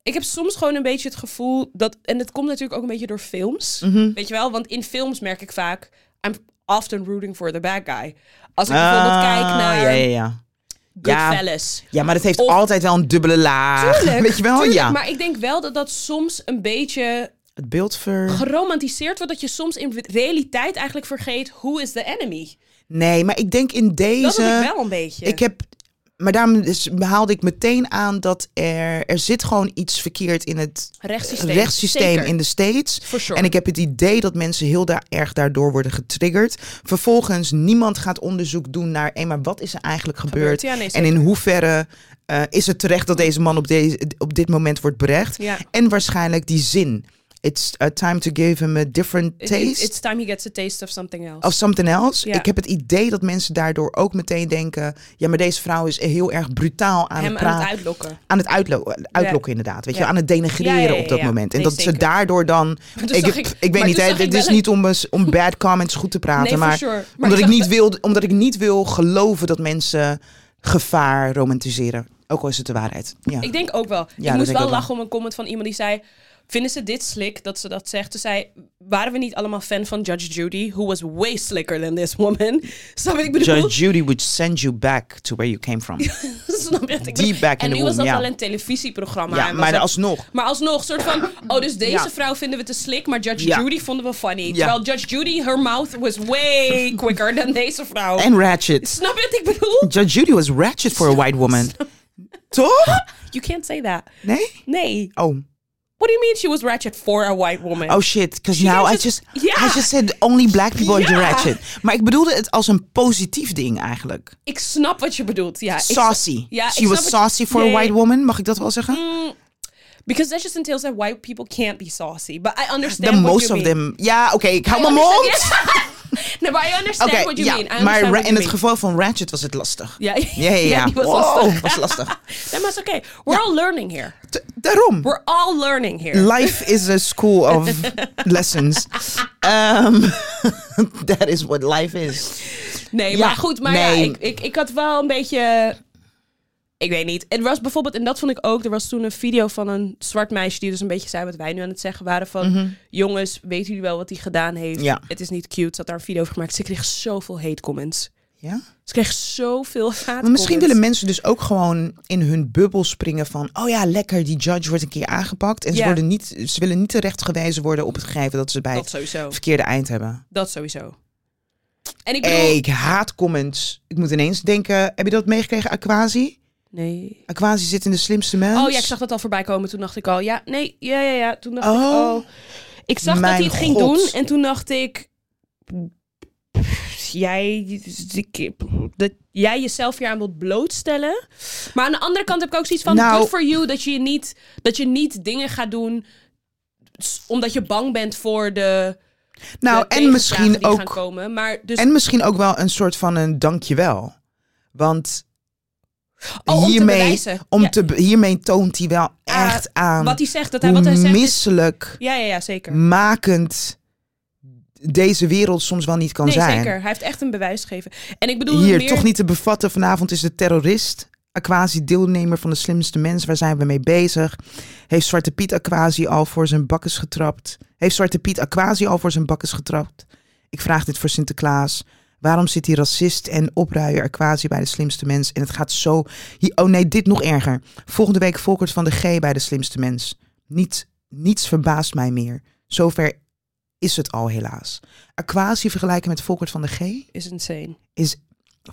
B: Ik heb soms gewoon een beetje het gevoel dat... En het komt natuurlijk ook een beetje door films.
A: Mhm.
B: Weet je wel? Want in films merk ik vaak... I'm often rooting for the bad guy. Als ik bijvoorbeeld
A: Ah,
B: kijk naar
A: Ja, ja, ja. ja.
B: Goodfellas.
A: ja, maar dat heeft
B: Of-
A: altijd wel een dubbele laag.
B: Tuurlijk,
A: Weet je wel?
B: tuurlijk,
A: ja.
B: Maar ik denk wel dat dat soms een beetje
A: Het beeld ver...
B: geromantiseerd wordt. Dat je soms in realiteit eigenlijk vergeet... Who is the enemy?
A: Nee, maar ik denk in deze...
B: Dat had ik wel een beetje.
A: Ik heb, maar daarom is- haalde ik meteen aan dat er, er zit gewoon iets verkeerd in het
B: Rechtssysteem.
A: rechtssysteem
B: Zeker.
A: in de States.
B: For sure.
A: En ik heb het idee dat mensen heel daar, erg daardoor worden getriggerd. Vervolgens, niemand gaat onderzoek doen naar, hé, maar wat is er eigenlijk gebeurd?
B: Gebeurd, ja, nee,
A: en in hoeverre eh, is het terecht dat deze man op, deze, op dit moment wordt berecht?
B: Ja.
A: En waarschijnlijk die zin. It's a time to give him a different
B: It-
A: taste.
B: it- It's time he gets a taste of something else.
A: of something else.
B: Ja.
A: Ik heb het idee dat mensen daardoor ook meteen denken... ja, maar deze vrouw is heel erg brutaal aan
B: Hem
A: het
B: aan het
A: praten.
B: uitlokken.
A: Aan het uitlo- uitlokken inderdaad. Weet je,
B: Ja.
A: aan het denigreren
B: Ja, ja, ja,
A: op dat
B: ja.
A: moment. En
B: Nee,
A: dat ze
B: zeker.
A: daardoor dan...
B: toen
A: ik,
B: zag
A: ik,
B: ik-
A: weet
B: maar
A: niet,
B: toen
A: hè,
B: zag ik
A: dit is
B: wel
A: niet om, eens- om bad comments goed te praten.
B: Nee, for
A: maar
B: sure. Maar
A: omdat,
B: ik
A: ik
B: zag
A: niet
B: de-
A: wilde, omdat ik niet wil geloven dat mensen gevaar romantiseren. Ook al is het de waarheid. Ja.
B: Ik denk ook wel.
A: dat
B: ik moest
A: denk ik
B: wel
A: ook wel.
B: lachen om een comment van iemand die zei... Vinden ze dit slick dat ze dat zegt? Toen zei, waren we niet allemaal fan van Judge Judy? Who was way slicker than this woman. Snap je wat ik bedoel?
A: Judge Judy would send you back to where you came from.
B: Snap je wat ik bedoel?
A: Deep back in
B: en
A: the
B: nu was
A: womb,
B: dat
A: ja.
B: wel een televisieprogramma.
A: ja,
B: en was
A: maar
B: dat-
A: alsnog.
B: maar alsnog, soort van... Oh, dus deze
A: Ja.
B: vrouw vinden we te slick, maar Judge
A: Ja.
B: Judy vonden we funny. Terwijl Judge Judy, her mouth was way quicker dan deze vrouw.
A: En ratchet.
B: Snap je wat ik bedoel?
A: Judge Judy was ratchet for a white woman. Toch?
B: You can't say that.
A: Nee?
B: Nee.
A: Oh.
B: What do you mean she was ratchet for a white woman?
A: Oh shit, because
B: She
A: now
B: is
A: I
B: het-
A: just,
B: Ja.
A: I just said only black people
B: Ja.
A: are ratchet. Maar ik bedoelde het als een positief ding eigenlijk.
B: Ik snap wat je bedoelt. Ja, ik snap-
A: Saucy.
B: Ja, ik
A: She
B: snap
A: was
B: wat-
A: saucy for a
B: Ja, ja, Mm,
A: white
B: ja.
A: woman, mag ik dat wel zeggen?
B: Because that just entails that white people can't be saucy. But I understand
A: The
B: what
A: most
B: you
A: of
B: mean.
A: them. Ja, oké, ik hou
B: I
A: mijn
B: understand-
A: mond.
B: Ja. Nee, maar I understand
A: Oké,
B: what you
A: ja,
B: mean. I
A: maar
B: understand
A: Ra- in
B: what you
A: het
B: mean.
A: geval van Ratchet was het lastig.
B: Ja,
A: Ja, ja, ja.
B: die was
A: Wow,
B: lastig.
A: was lastig.
B: Nee, maar is oké. We're all learning here.
A: T- daarom.
B: We're all learning here.
A: Life is a school of lessons. Ehm, that is what life is.
B: Nee,
A: Ja,
B: maar goed, maar ja,
A: nee.
B: ik, ik, ik had wel een beetje. Ik weet niet. Het was bijvoorbeeld, en dat vond ik ook, er was toen een video van een zwart meisje die dus een beetje zei wat wij nu aan het zeggen waren van, jongens, weten jullie wel wat hij gedaan heeft?
A: Mhm. Ja.
B: Het is niet cute. Ze had daar een video over gemaakt. Ze kreeg zoveel hate comments.
A: Ja?
B: Ze kreeg zoveel haat.
A: Maar misschien willen mensen dus ook gewoon in hun bubbel springen van... oh ja, lekker, die judge wordt een keer aangepakt. En ze,
B: Ja.
A: worden niet, ze willen niet terecht gewezen worden op het gegeven dat ze bij
B: dat
A: het
B: sowieso.
A: verkeerde eind hebben.
B: Dat sowieso. En ik bedoel.
A: Ik haat comments. Ik moet ineens denken, heb je dat meegekregen, Aquasi?
B: Nee.
A: Aquasi zit in de slimste mens.
B: Oh ja, ik zag dat al voorbij komen. Toen dacht ik al, ja, nee, ja, ja, ja. Toen dacht ik,
A: Oh.
B: oh. Ik zag dat
A: Mijn
B: hij het ging
A: god.
B: doen en toen dacht ik... Jij, dat jij jezelf hier aan wilt blootstellen. Maar aan de andere kant heb ik ook zoiets van...
A: Nou.
B: good for you dat je, je niet, dat je niet dingen gaat doen... s- omdat je bang bent voor de,
A: Nou,
B: de
A: en
B: tegenslagen
A: misschien
B: die gaan
A: ook
B: komen. Maar dus,
A: En misschien ook wel een soort van een dankjewel. Want
B: oh, om te
A: hiermee,
B: bewijzen.
A: om
B: Ja,
A: te be- hiermee toont hij wel
B: Ah,
A: echt aan
B: wat hij zegt, dat hij
A: hoe
B: wat hij zegt... is-
A: misselijk,
B: ja, ja, ja, zeker.
A: makend deze wereld soms wel niet kan
B: Nee,
A: zijn.
B: zeker. Hij heeft echt een bewijs gegeven. En ik bedoel
A: Hier,
B: meer...
A: toch niet te bevatten. Vanavond is de terrorist. Aquasi, deelnemer van de slimste mens. Waar zijn we mee bezig? Heeft Zwarte Piet Aquasi al voor zijn bakkes getrapt? Heeft Zwarte Piet Aquasi al voor zijn bakkes getrapt? Ik vraag dit voor Sinterklaas. Waarom zit die racist en opruier Aquasi bij de slimste mens? En het gaat zo... Hi- Oh nee, dit nog erger. Volgende week Volkert van de G bij de slimste mens. Niet, niets verbaast mij meer. Zover is het al helaas. Aquasi vergelijken met Volkert van de G?
B: Is insane.
A: is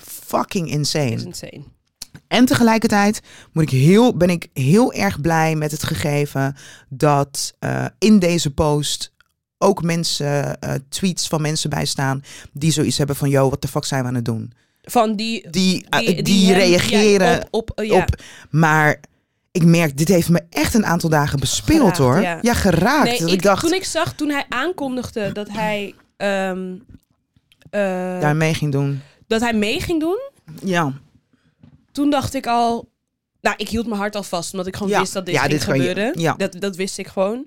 A: fucking
B: Is
A: insane.
B: insane.
A: En tegelijkertijd moet ik heel, ben ik heel erg blij met het gegeven dat eh, in deze post ook mensen, eh, tweets van mensen bijstaan die zoiets hebben van, yo, wat de fuck zijn we aan het doen?
B: Van die...
A: Die, eh, die,
B: hem-
A: reageren
B: ja, op... op, eh, ja.
A: op, maar ik merk, dit heeft me echt een aantal dagen bespeeld
B: Geraakt,
A: hoor. Ja,
B: ja.
A: geraakt.
B: Nee,
A: dat
B: ik-
A: ik dacht,
B: Toen ik zag, toen hij aankondigde dat hij... ehm, eh,
A: daarmee ging doen.
B: Dat hij mee ging doen,
A: Ja,
B: toen dacht ik al... Nou, ik hield mijn hart al vast, omdat ik gewoon
A: Ja.
B: wist dat dit
A: Ja,
B: ging
A: dit kan je-
B: gebeuren.
A: ja.
B: dat, dat wist ik gewoon.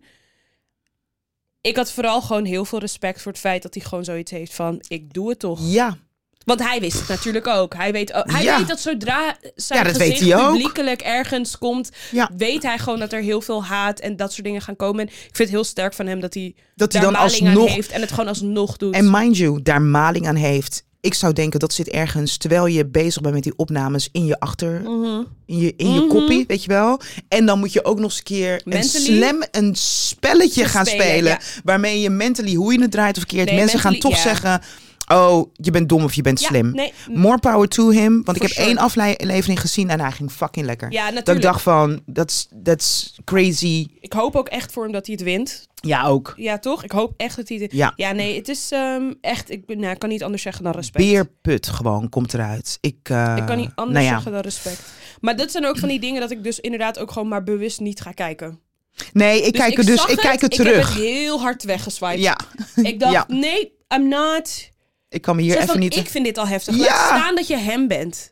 B: Ik had vooral gewoon heel veel respect voor het feit dat hij gewoon zoiets heeft van... Ik doe het toch.
A: ja,
B: Want hij wist het natuurlijk ook. Hij weet, ook- hij
A: Ja.
B: weet dat zodra zijn
A: Ja, dat weet
B: gezicht
A: hij ook.
B: publiekelijk ergens komt,
A: Ja.
B: weet hij gewoon dat er heel veel haat en dat soort dingen gaan komen. En ik vind het heel sterk van hem dat hij
A: dat hij
B: daar
A: dan
B: maling aan
A: alsnog
B: heeft en het gewoon alsnog doet.
A: En mind you, daar maling aan heeft. Ik zou denken dat zit ergens terwijl je bezig bent met die opnames in je achter,
B: Mhm.
A: in je, in je
B: Mhm.
A: kopie, weet je wel. En dan moet je ook nog eens een keer een
B: Mentally
A: slam, een spelletje
B: te
A: gaan spelen.
B: spelen, ja.
A: Waarmee je mentally, hoe je het draait of keert,
B: Nee,
A: mensen gaan toch
B: mentally,
A: zeggen: Oh, je bent dom of je bent
B: Ja,
A: slim.
B: nee, m-
A: More power to him. Want ik
B: For
A: heb
B: sure.
A: één aflevering gezien en hij ging fucking lekker.
B: ja, natuurlijk.
A: dat ik dacht van, that's, that's crazy.
B: Ik hoop ook echt voor hem dat hij het wint.
A: Ja, ook.
B: Ja, toch? Ik hoop echt dat hij het...
A: Ja.
B: Ja, nee, het is ehm, echt... Ik ben, nou, ik kan niet anders zeggen dan respect.
A: Beerput gewoon komt eruit. Ik, eh,
B: Ik kan niet anders
A: nou ja.
B: zeggen dan respect. Maar dat zijn ook van die dingen dat ik dus inderdaad ook gewoon maar bewust niet ga kijken. Dus
A: Nee, ik kijk er dus,
B: zag
A: ik kijk er
B: Ik heb
A: terug.
B: het heel hard weggeswiped.
A: ja,
B: Ik dacht,
A: Ja.
B: nee, I'm not.
A: ik kan me hier
B: Soort
A: even
B: van,
A: niet.
B: Ik vind dit al heftig.
A: Ja.
B: Laat staan dat je hem bent.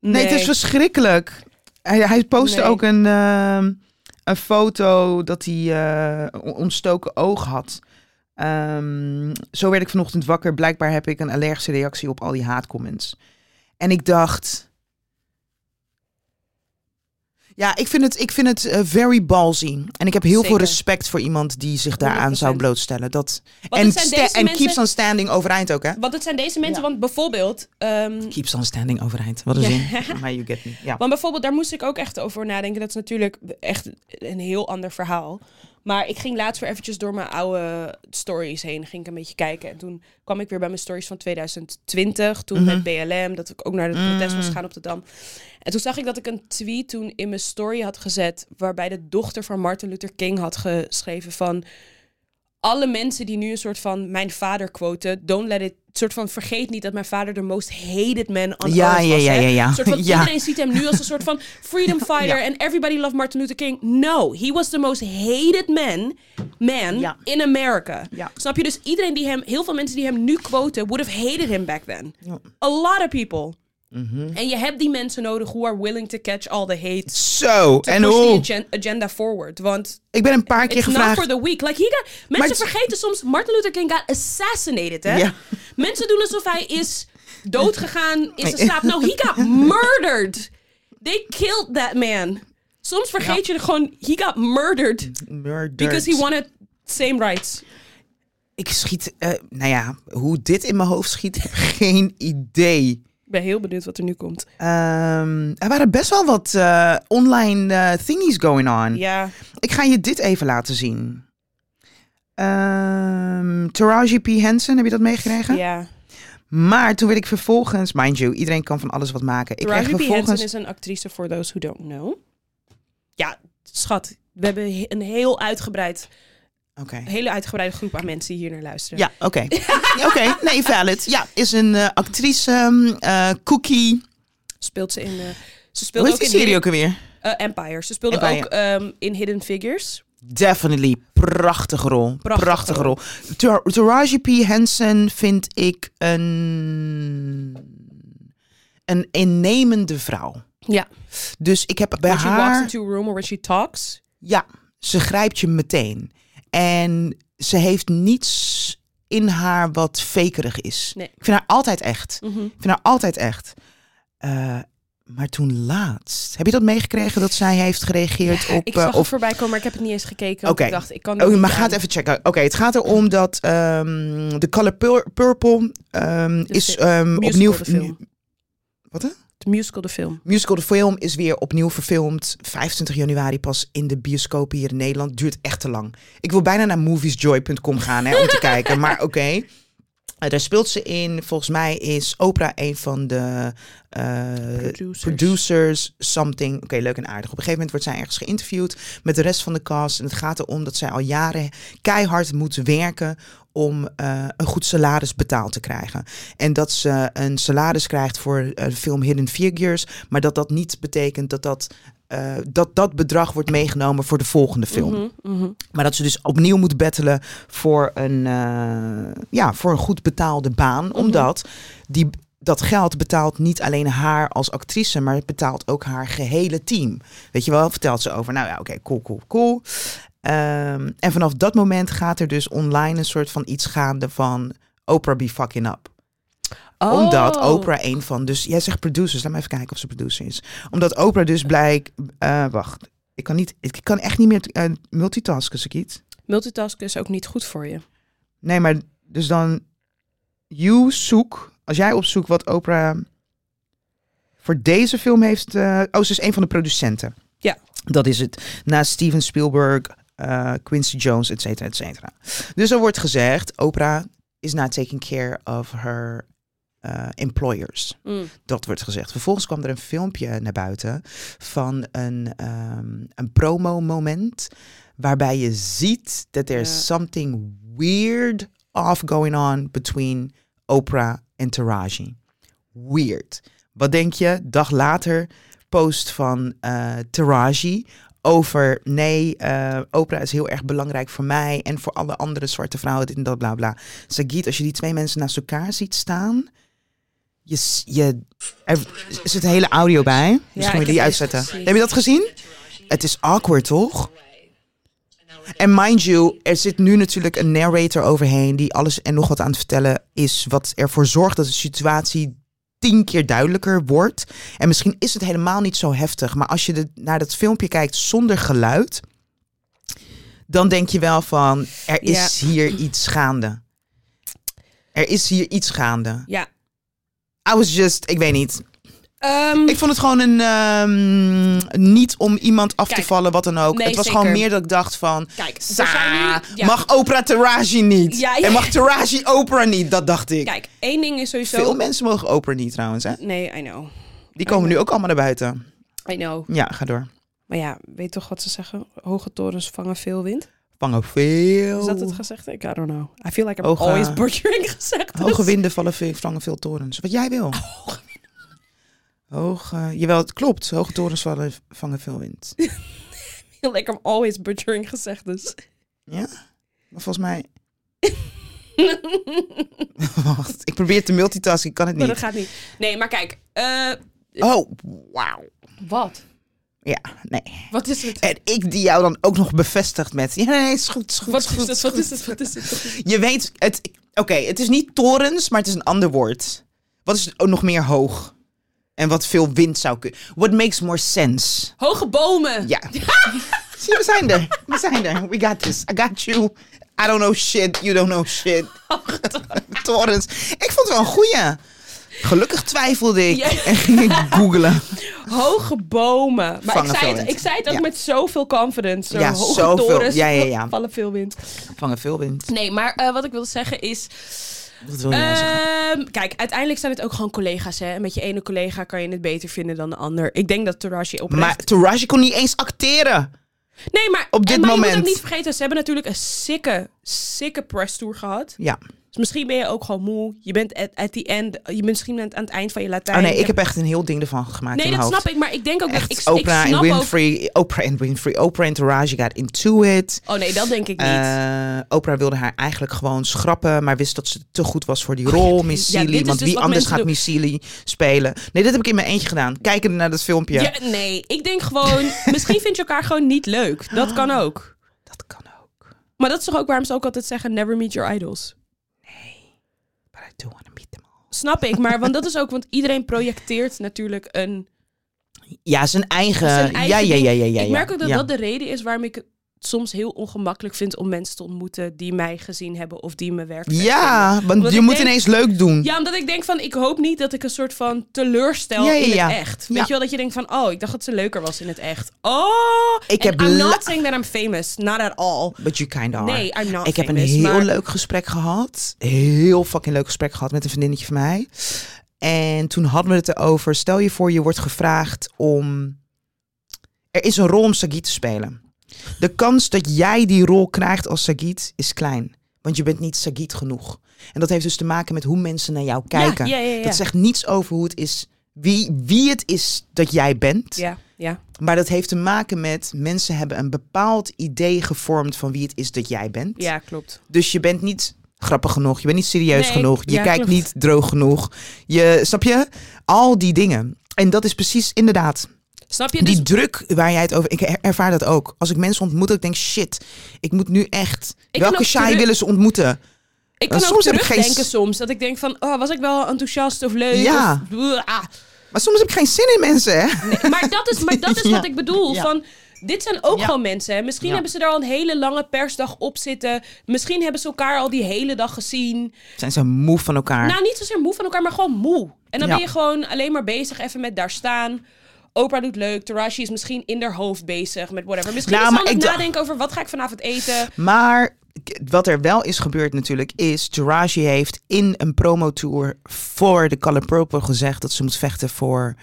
B: Nee,
A: Nee, het is dus- verschrikkelijk. Hij, hij postte
B: Nee.
A: ook een, ehm, een foto dat hij eh, on- ontstoken oog had. Ehm, zo werd ik vanochtend wakker. Blijkbaar heb ik een allergische reactie op al die haatcomments. En ik dacht. Ja, ik vind het, ik vind het eh, very ballsy. En ik heb heel veel
B: Zeker.
A: respect voor iemand die zich daaraan zou
B: 100%.
A: blootstellen. Dat,
B: Want
A: en
B: het zijn
A: sta-
B: deze
A: en
B: mensen-
A: keeps on standing overeind ook, hè?
B: Want het zijn deze mensen,
A: Ja.
B: want bijvoorbeeld... ehm,
A: Keeps on standing overeind. Wat een
B: Ja.
A: zin. Maar you get me. Ja.
B: want bijvoorbeeld, daar moest ik ook echt over nadenken. Dat is natuurlijk echt een heel ander verhaal. Maar ik ging laatst weer eventjes door mijn oude stories heen. Ging ik een beetje kijken. En toen kwam ik weer bij mijn stories van 2020.
A: Mhm.
B: Toen met BLM, dat ik ook naar het protest was gaan op de Dam. En toen zag ik dat ik een tweet toen in mijn story had gezet. Waarbij de dochter van Martin Luther King had geschreven van... alle mensen die nu een soort van mijn vader quoten, don't let it, soort van vergeet niet dat mijn vader de most hated man on
A: Ja,
B: earth
A: ja,
B: was.
A: ja,
B: hè?
A: ja, ja.
B: Een Soort van,
A: Ja.
B: Iedereen ziet hem nu als een soort van freedom fighter en everybody loved Martin Luther King. No, he was the most hated man, man
A: Ja.
B: in America.
A: Ja.
B: Snap je? Dus iedereen die hem, heel veel mensen die hem nu quoten, would have hated him back then. A lot of people.
A: Mhm.
B: En je hebt die mensen nodig who are willing to catch all the hate.
A: Zo,
B: to
A: en
B: push the
A: hoe?
B: agen- agenda forward. Want
A: Ik ben een paar keer
B: It's not for
A: gevraagd.
B: the weak. Like he got, mensen
A: het-
B: vergeten soms, Martin Luther King got assassinated. Hè?
A: Ja.
B: Mensen doen alsof hij is doodgegaan, is in slaap. No, he got murdered. They killed that man. Soms vergeet je gewoon, he got murdered.
A: Murdered.
B: Because he wanted same rights.
A: Ik schiet, eh, nou ja, hoe dit in mijn hoofd schiet, ik heb geen idee.
B: Ik ben heel benieuwd wat er nu komt.
A: Ehm, er waren best wel wat eh, online eh, thingies going on.
B: Ja.
A: Ik ga je dit even laten zien. Ehm Taraji P. Henson, heb je dat meegekregen?
B: ja.
A: Maar toen werd ik vervolgens, mind you, iedereen kan van alles wat maken. Ik kreeg
B: Taraji P. Henson
A: vervolgens.
B: is een actrice, for those who don't know. Ja, schat. We hebben he- een heel uitgebreid,
A: Oké.
B: hele uitgebreide groep aan mensen die hier naar luisteren.
A: Ja, oké. oké, nee, valid. Ja, is een eh, actrice, ehm, eh, Cookie.
B: speelt ze in. eh, ze
A: Hoe
B: speelde
A: heet
B: ook
A: die
B: in
A: serie
B: Hidden-
A: ook alweer?
B: eh, Empire. Ze speelde
A: Empire.
B: ook ehm, in Hidden Figures.
A: Definitely. Prachtige rol. Prachtige,
B: Prachtige
A: rol. Tar- Taraji P. Henson vind ik een... Een innemende vrouw.
B: Ja.
A: Dus ik heb bij
B: When she walks
A: haar...
B: into a room or when she talks.
A: Ja, ze grijpt je meteen. En ze heeft niets in haar wat fakerig is.
B: Nee.
A: Ik vind haar altijd echt.
B: Mhm.
A: Ik vind haar altijd echt. Eh, maar toen laatst, heb je dat meegekregen dat zij heeft gereageerd op...
B: Ik
A: eh,
B: zag
A: of,
B: het voorbij komen, maar ik heb het niet eens gekeken. want
A: Oké.
B: Ik dacht, ik kan. dit
A: Oh,
B: niet ehm,
A: maar
B: aan.
A: ga het even checken. Oké, het gaat erom dat ehm The Color Pur- Purple ehm, is
B: film.
A: ehm,
B: Musical,
A: opnieuw...
B: Dus de film.
A: Wat, hè?
B: De musical, de film.
A: Musical de film is weer opnieuw verfilmd. 25 januari pas in de bioscoop hier in Nederland. Duurt echt te lang. Ik wil bijna naar moviesjoy.com gaan hè, om te kijken. Maar oké. Eh, daar speelt ze in. Volgens mij is Oprah een van de eh,
B: Producers.
A: producers, something. Oké, leuk en aardig. Op een gegeven moment wordt zij ergens geïnterviewd met de rest van de cast. En het gaat erom dat zij al jaren keihard moet werken om eh, een goed salaris betaald te krijgen. En dat ze een salaris krijgt voor eh, de film Hidden Figures. Maar dat dat niet betekent dat dat, eh, dat, dat bedrag wordt meegenomen voor de volgende film.
B: Mhm, mhm.
A: Maar dat ze dus opnieuw moet bettelen voor een, eh, ja, voor een goed betaalde baan. Omdat die, dat geld betaalt niet alleen haar als actrice, maar het betaalt ook haar gehele team. Weet je wel, vertelt ze over. Nou ja, oké, cool, cool, cool. Ehm, en vanaf dat moment gaat er dus online een soort van iets gaande van Oprah be fucking up. Omdat
B: Oh.
A: Oprah een van, dus jij zegt producers, laat me even kijken of ze producer is. Omdat Oprah dus blijk, eh, wacht, ik kan, niet, ik kan echt niet meer eh, multitasken, Sakiet.
B: Multitasken is ook niet goed voor je.
A: Nee, maar dus dan... You zoek... Als jij opzoekt wat Oprah voor deze film heeft... eh, oh, ze is een van de producenten.
B: Ja.
A: Dat is het. Na Steven Spielberg, eh, Quincy Jones, et cetera, et cetera. Dus er wordt gezegd, Oprah is not taking care of her eh, employers.
B: Mm.
A: Dat wordt gezegd. Vervolgens kwam er een filmpje naar buiten van een, ehm een promo-moment. Waarbij je ziet dat there's
B: Ja.
A: something weird off going on between Oprah en Taraji. Weird. Wat denk je? Dag later, post van eh, Taraji over nee, eh, Oprah is heel erg belangrijk voor mij en voor alle andere zwarte vrouwen, dit en dat, bla bla. Sagit, als je die twee mensen naast elkaar ziet staan, je, s- je, er zit een hele audio bij. Misschien moet
B: ik
A: je die
B: heb deze
A: uitzetten.
B: gezien.
A: Heb je dat gezien? Het is awkward, toch? En mind you, er zit nu natuurlijk een narrator overheen die alles en nog wat aan het vertellen is, wat ervoor zorgt dat de situatie tien keer duidelijker wordt. En misschien is het helemaal niet zo heftig, maar als je de- naar dat filmpje kijkt zonder geluid, dan denk je wel van, er is hier iets gaande. Er is hier iets gaande.
B: Ja.
A: I was just, ik weet niet.
B: Ehm,
A: Ik vond het gewoon een, ehm, niet om iemand af te
B: Kijk,
A: vallen, wat dan ook.
B: nee,
A: het was
B: zeker.
A: gewoon meer dat ik dacht van,
B: Kijk, we
A: Sa,
B: zijn nu- ja.
A: mag Oprah Taraji niet.
B: Ja, ja.
A: En mag Taraji Oprah niet, dat dacht ik.
B: kijk, één ding is sowieso.
A: Veel mensen mogen Oprah niet trouwens, hè.
B: Nee, I know.
A: Die
B: Oh,
A: komen nu ook allemaal naar buiten.
B: I know.
A: Ja, ga door.
B: Maar ja, weet toch wat ze zeggen? Hoge torens vangen veel wind.
A: vangen veel.
B: Is dat het gezegd? Ik I don't know. I feel like I'm
A: Oh. Hoge-
B: always butchering gezegd.
A: Hoge winden vallen veel, vangen veel torens. Wat jij wil. Hoog, eh, jawel, het klopt. Hoge torens vallen, vangen veel wind.
B: I feel like I'm always butchering gezegd. Dus.
A: Ja? Maar volgens mij... Wacht, ik probeer te multitasken, ik kan het
B: Maar dat
A: niet.
B: gaat niet. Nee, maar kijk. eh,
A: Oh, wauw.
B: wat?
A: Ja, nee.
B: Wat is het?
A: En ik die jou dan ook nog bevestigt met... Ja, nee, is goed, is goed,
B: Wat
A: is
B: is
A: goed,
B: het?
A: is
B: Wat
A: goed.
B: is het? Wat is het? Wat is het?
A: Je weet, het, oké, het is niet torens, maar het is een ander woord. Wat is ook nog meer hoog? En wat veel wind zou kunnen. What makes more sense?
B: Hoge bomen.
A: Ja. Zie, we zijn er. We zijn er. We got this. I got you. I don't know shit. You don't know shit. Torrens. Ik vond het wel een goeie. Gelukkig twijfelde ik
B: Ja.
A: en ging ik googelen.
B: Hoge bomen. Maar
A: Vangen
B: ik
A: veel
B: zei, het,
A: wind.
B: ik zei het ook
A: Ja.
B: met zoveel confidence. Zo,
A: Ja,
B: hoge
A: zoveel.
B: torens
A: Ja, ja, ja.
B: vallen veel wind.
A: Vangen veel wind.
B: Nee, maar eh, wat ik wilde zeggen is... Eh,
A: Wat wil je nou zeggen?
B: ehm, kijk, uiteindelijk zijn het ook gewoon collega's. Hè? En met je ene collega kan je het beter vinden dan de ander. Ik denk dat Taraji oprecht...
A: Maar Taraji kon niet eens acteren.
B: nee, maar,
A: op
B: en-
A: dit
B: maar je moet
A: moment.
B: ook niet vergeten, ze hebben natuurlijk een sikke, sikke press tour gehad.
A: Ja. Oh
B: Dus misschien ben je ook gewoon moe. Je bent at, at the end, je bent misschien aan het, aan het eind van je Latijn.
A: Oh nee,
B: Je
A: ik heb echt een heel ding ervan gemaakt
B: Nee,
A: in mijn
B: dat
A: hoofd.
B: snap ik. Maar ik denk ook
A: Echt
B: dat ik, ik
A: Oprah en
B: snap ook...
A: Winfrey. Oprah en Winfrey. Oprah en Taraji got into it.
B: Oh nee, dat denk ik niet.
A: Eh, Oprah wilde haar eigenlijk gewoon schrappen, maar wist dat ze te goed was voor die rol, Miss
B: Oh ja,
A: Seeley.
B: dit is
A: want
B: dus
A: wie
B: wat
A: anders
B: mensen
A: gaat
B: doen.
A: Miss Seeley spelen? Nee, dat heb ik in mijn eentje gedaan. Kijkende naar dat filmpje.
B: Ja, nee, ik denk gewoon... misschien vind je elkaar gewoon niet leuk. Dat kan
A: Ah.
B: ook.
A: Dat kan ook.
B: Maar dat is toch ook waarom ze ook altijd zeggen... Never meet your idols.
A: But I do want to meet them all.
B: Snap ik, maar want dat is ook... Want iedereen projecteert natuurlijk een...
A: Ja, zijn eigen.
B: zijn eigen
A: ja, ja, ja, ja,
B: ding.
A: ja.
B: ik merk ook dat
A: ja.
B: dat de reden is waarom ik het soms heel ongemakkelijk vind... om mensen te ontmoeten die mij gezien hebben of die mijn werk vet vinden.
A: Ja, want
B: Omdat
A: je
B: ik
A: moet
B: denk-
A: ineens leuk doen.
B: Ja, omdat ik denk van, ik hoop niet dat ik een soort van teleurstel
A: Ja, ja,
B: in
A: ja.
B: het echt. Weet
A: Ja.
B: je wel, dat je denkt van, oh, ik dacht dat ze leuker was in het echt. Oh,
A: Ik
B: and
A: heb
B: I'm
A: la-
B: not saying that I'm famous, not at all.
A: But you kind of
B: Nee, I'm not
A: Ik heb een
B: famous,
A: heel
B: Oh, maar-
A: leuk gesprek gehad. Heel fucking leuk gesprek gehad met een vriendinnetje van mij. En toen hadden we het erover. Stel je voor, je wordt gevraagd om. Er is een rol om Sagiet te spelen. De kans dat jij die rol krijgt als Sagiet is klein. Want je bent niet Sagiet genoeg. En dat heeft dus te maken met hoe mensen naar jou kijken.
B: ja, ja, ja.
A: Dat zegt niets over hoe het is. Wie, wie het is dat jij bent.
B: Ja, ja.
A: Maar dat heeft te maken met mensen hebben een bepaald idee gevormd van wie het is dat jij bent.
B: Ja, klopt.
A: Dus je bent niet grappig genoeg, je bent niet serieus
B: Nee,
A: genoeg, je
B: ja,
A: kijkt
B: klopt.
A: niet droog genoeg. Je, snap je? Al die dingen. En dat is precies inderdaad
B: Snap je? Dus,
A: die druk waar jij het over. Ik er- ervaar dat ook. Als ik mensen ontmoet, dat ik denk shit, ik moet nu echt.
B: kan
A: welke
B: ook
A: shy
B: terug-
A: willen ze ontmoeten?
B: ik kan ook
A: soms heb ik geen
B: terugdenken
A: s-
B: soms. Dat ik denk van, oh, was ik wel enthousiast of leuk?
A: Ja.
B: Of, Blah, ah.
A: Maar soms heb ik geen zin in mensen, hè?
B: Nee, maar dat is, maar dat is
A: Ja.
B: wat ik bedoel.
A: Ja.
B: Van, dit zijn ook
A: Ja.
B: gewoon mensen. hè. Misschien
A: Ja.
B: hebben ze daar al een hele lange persdag op zitten. Misschien hebben ze elkaar al die hele dag gezien.
A: Zijn ze moe van elkaar?
B: Nou, niet zozeer moe van elkaar, maar gewoon moe. En dan
A: Ja.
B: ben je gewoon alleen maar bezig even met daar staan. Oprah doet leuk. Taraji is misschien in haar hoofd bezig met whatever. Misschien
A: Nou,
B: is ze
A: maar
B: aan het
A: ik dacht-
B: nadenken over wat ga ik vanavond eten.
A: Maar k- wat er wel is gebeurd natuurlijk is... Taraji heeft in een promotour voor de Color Purple gezegd... dat ze moet vechten voor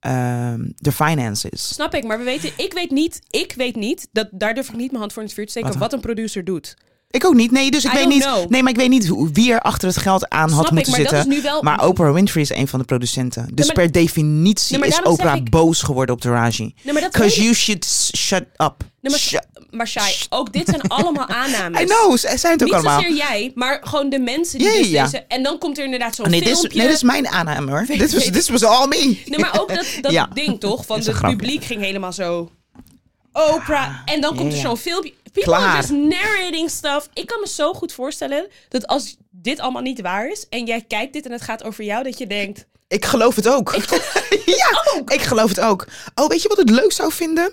A: ehm, de finances.
B: Snap ik, maar we weten, ik weet niet, ik weet niet, dat, daar durf ik niet mijn hand voor in het vuur te steken, wat,
A: Wat-
B: een producer doet.
A: Ik ook niet. Nee, dus ik
B: I
A: weet
B: don't
A: niet,
B: know.
A: nee, maar ik weet niet hoe- wie er achter het geld aan
B: Snap
A: had
B: ik,
A: moeten
B: maar dat
A: zitten.
B: is nu wel-
A: Maar Oprah Winfrey is een van de producenten. Dus
B: maar-
A: per definitie
B: Nee, maar
A: is
B: daarom zeg
A: Oprah
B: ik-
A: boos geworden op Taraji.
B: Nee, maar dat weet
A: Because
B: ik.
A: you should s- shut up.
B: Nee, maar,
A: Shut-
B: maar Shai, ook dit zijn allemaal aannames.
A: I know, ze- zij zijn het ook
B: Niet
A: allemaal.
B: zozeer jij, maar gewoon de mensen die
A: Ja,
B: dus
A: ja, ja.
B: deze... En dan komt er inderdaad zo'n
A: Oh, nee, dit is,
B: filmpje.
A: nee, dit is mijn aanname hoor. Dit was, this was all me.
B: Nee, maar ook dat, dat
A: Ja.
B: ding toch? Van
A: Is
B: het
A: een grapje.
B: publiek ging helemaal zo. Oprah. En dan komt
A: ja,
B: er
A: ja.
B: zo'n filmpje. People
A: Klaar.
B: are just narrating stuff. Ik kan me zo goed voorstellen dat als dit allemaal niet waar is. en jij kijkt dit en het gaat over jou, dat je denkt.
A: Ik geloof het ook. ja, ik geloof het ook. Oh, weet je wat ik leuk zou vinden?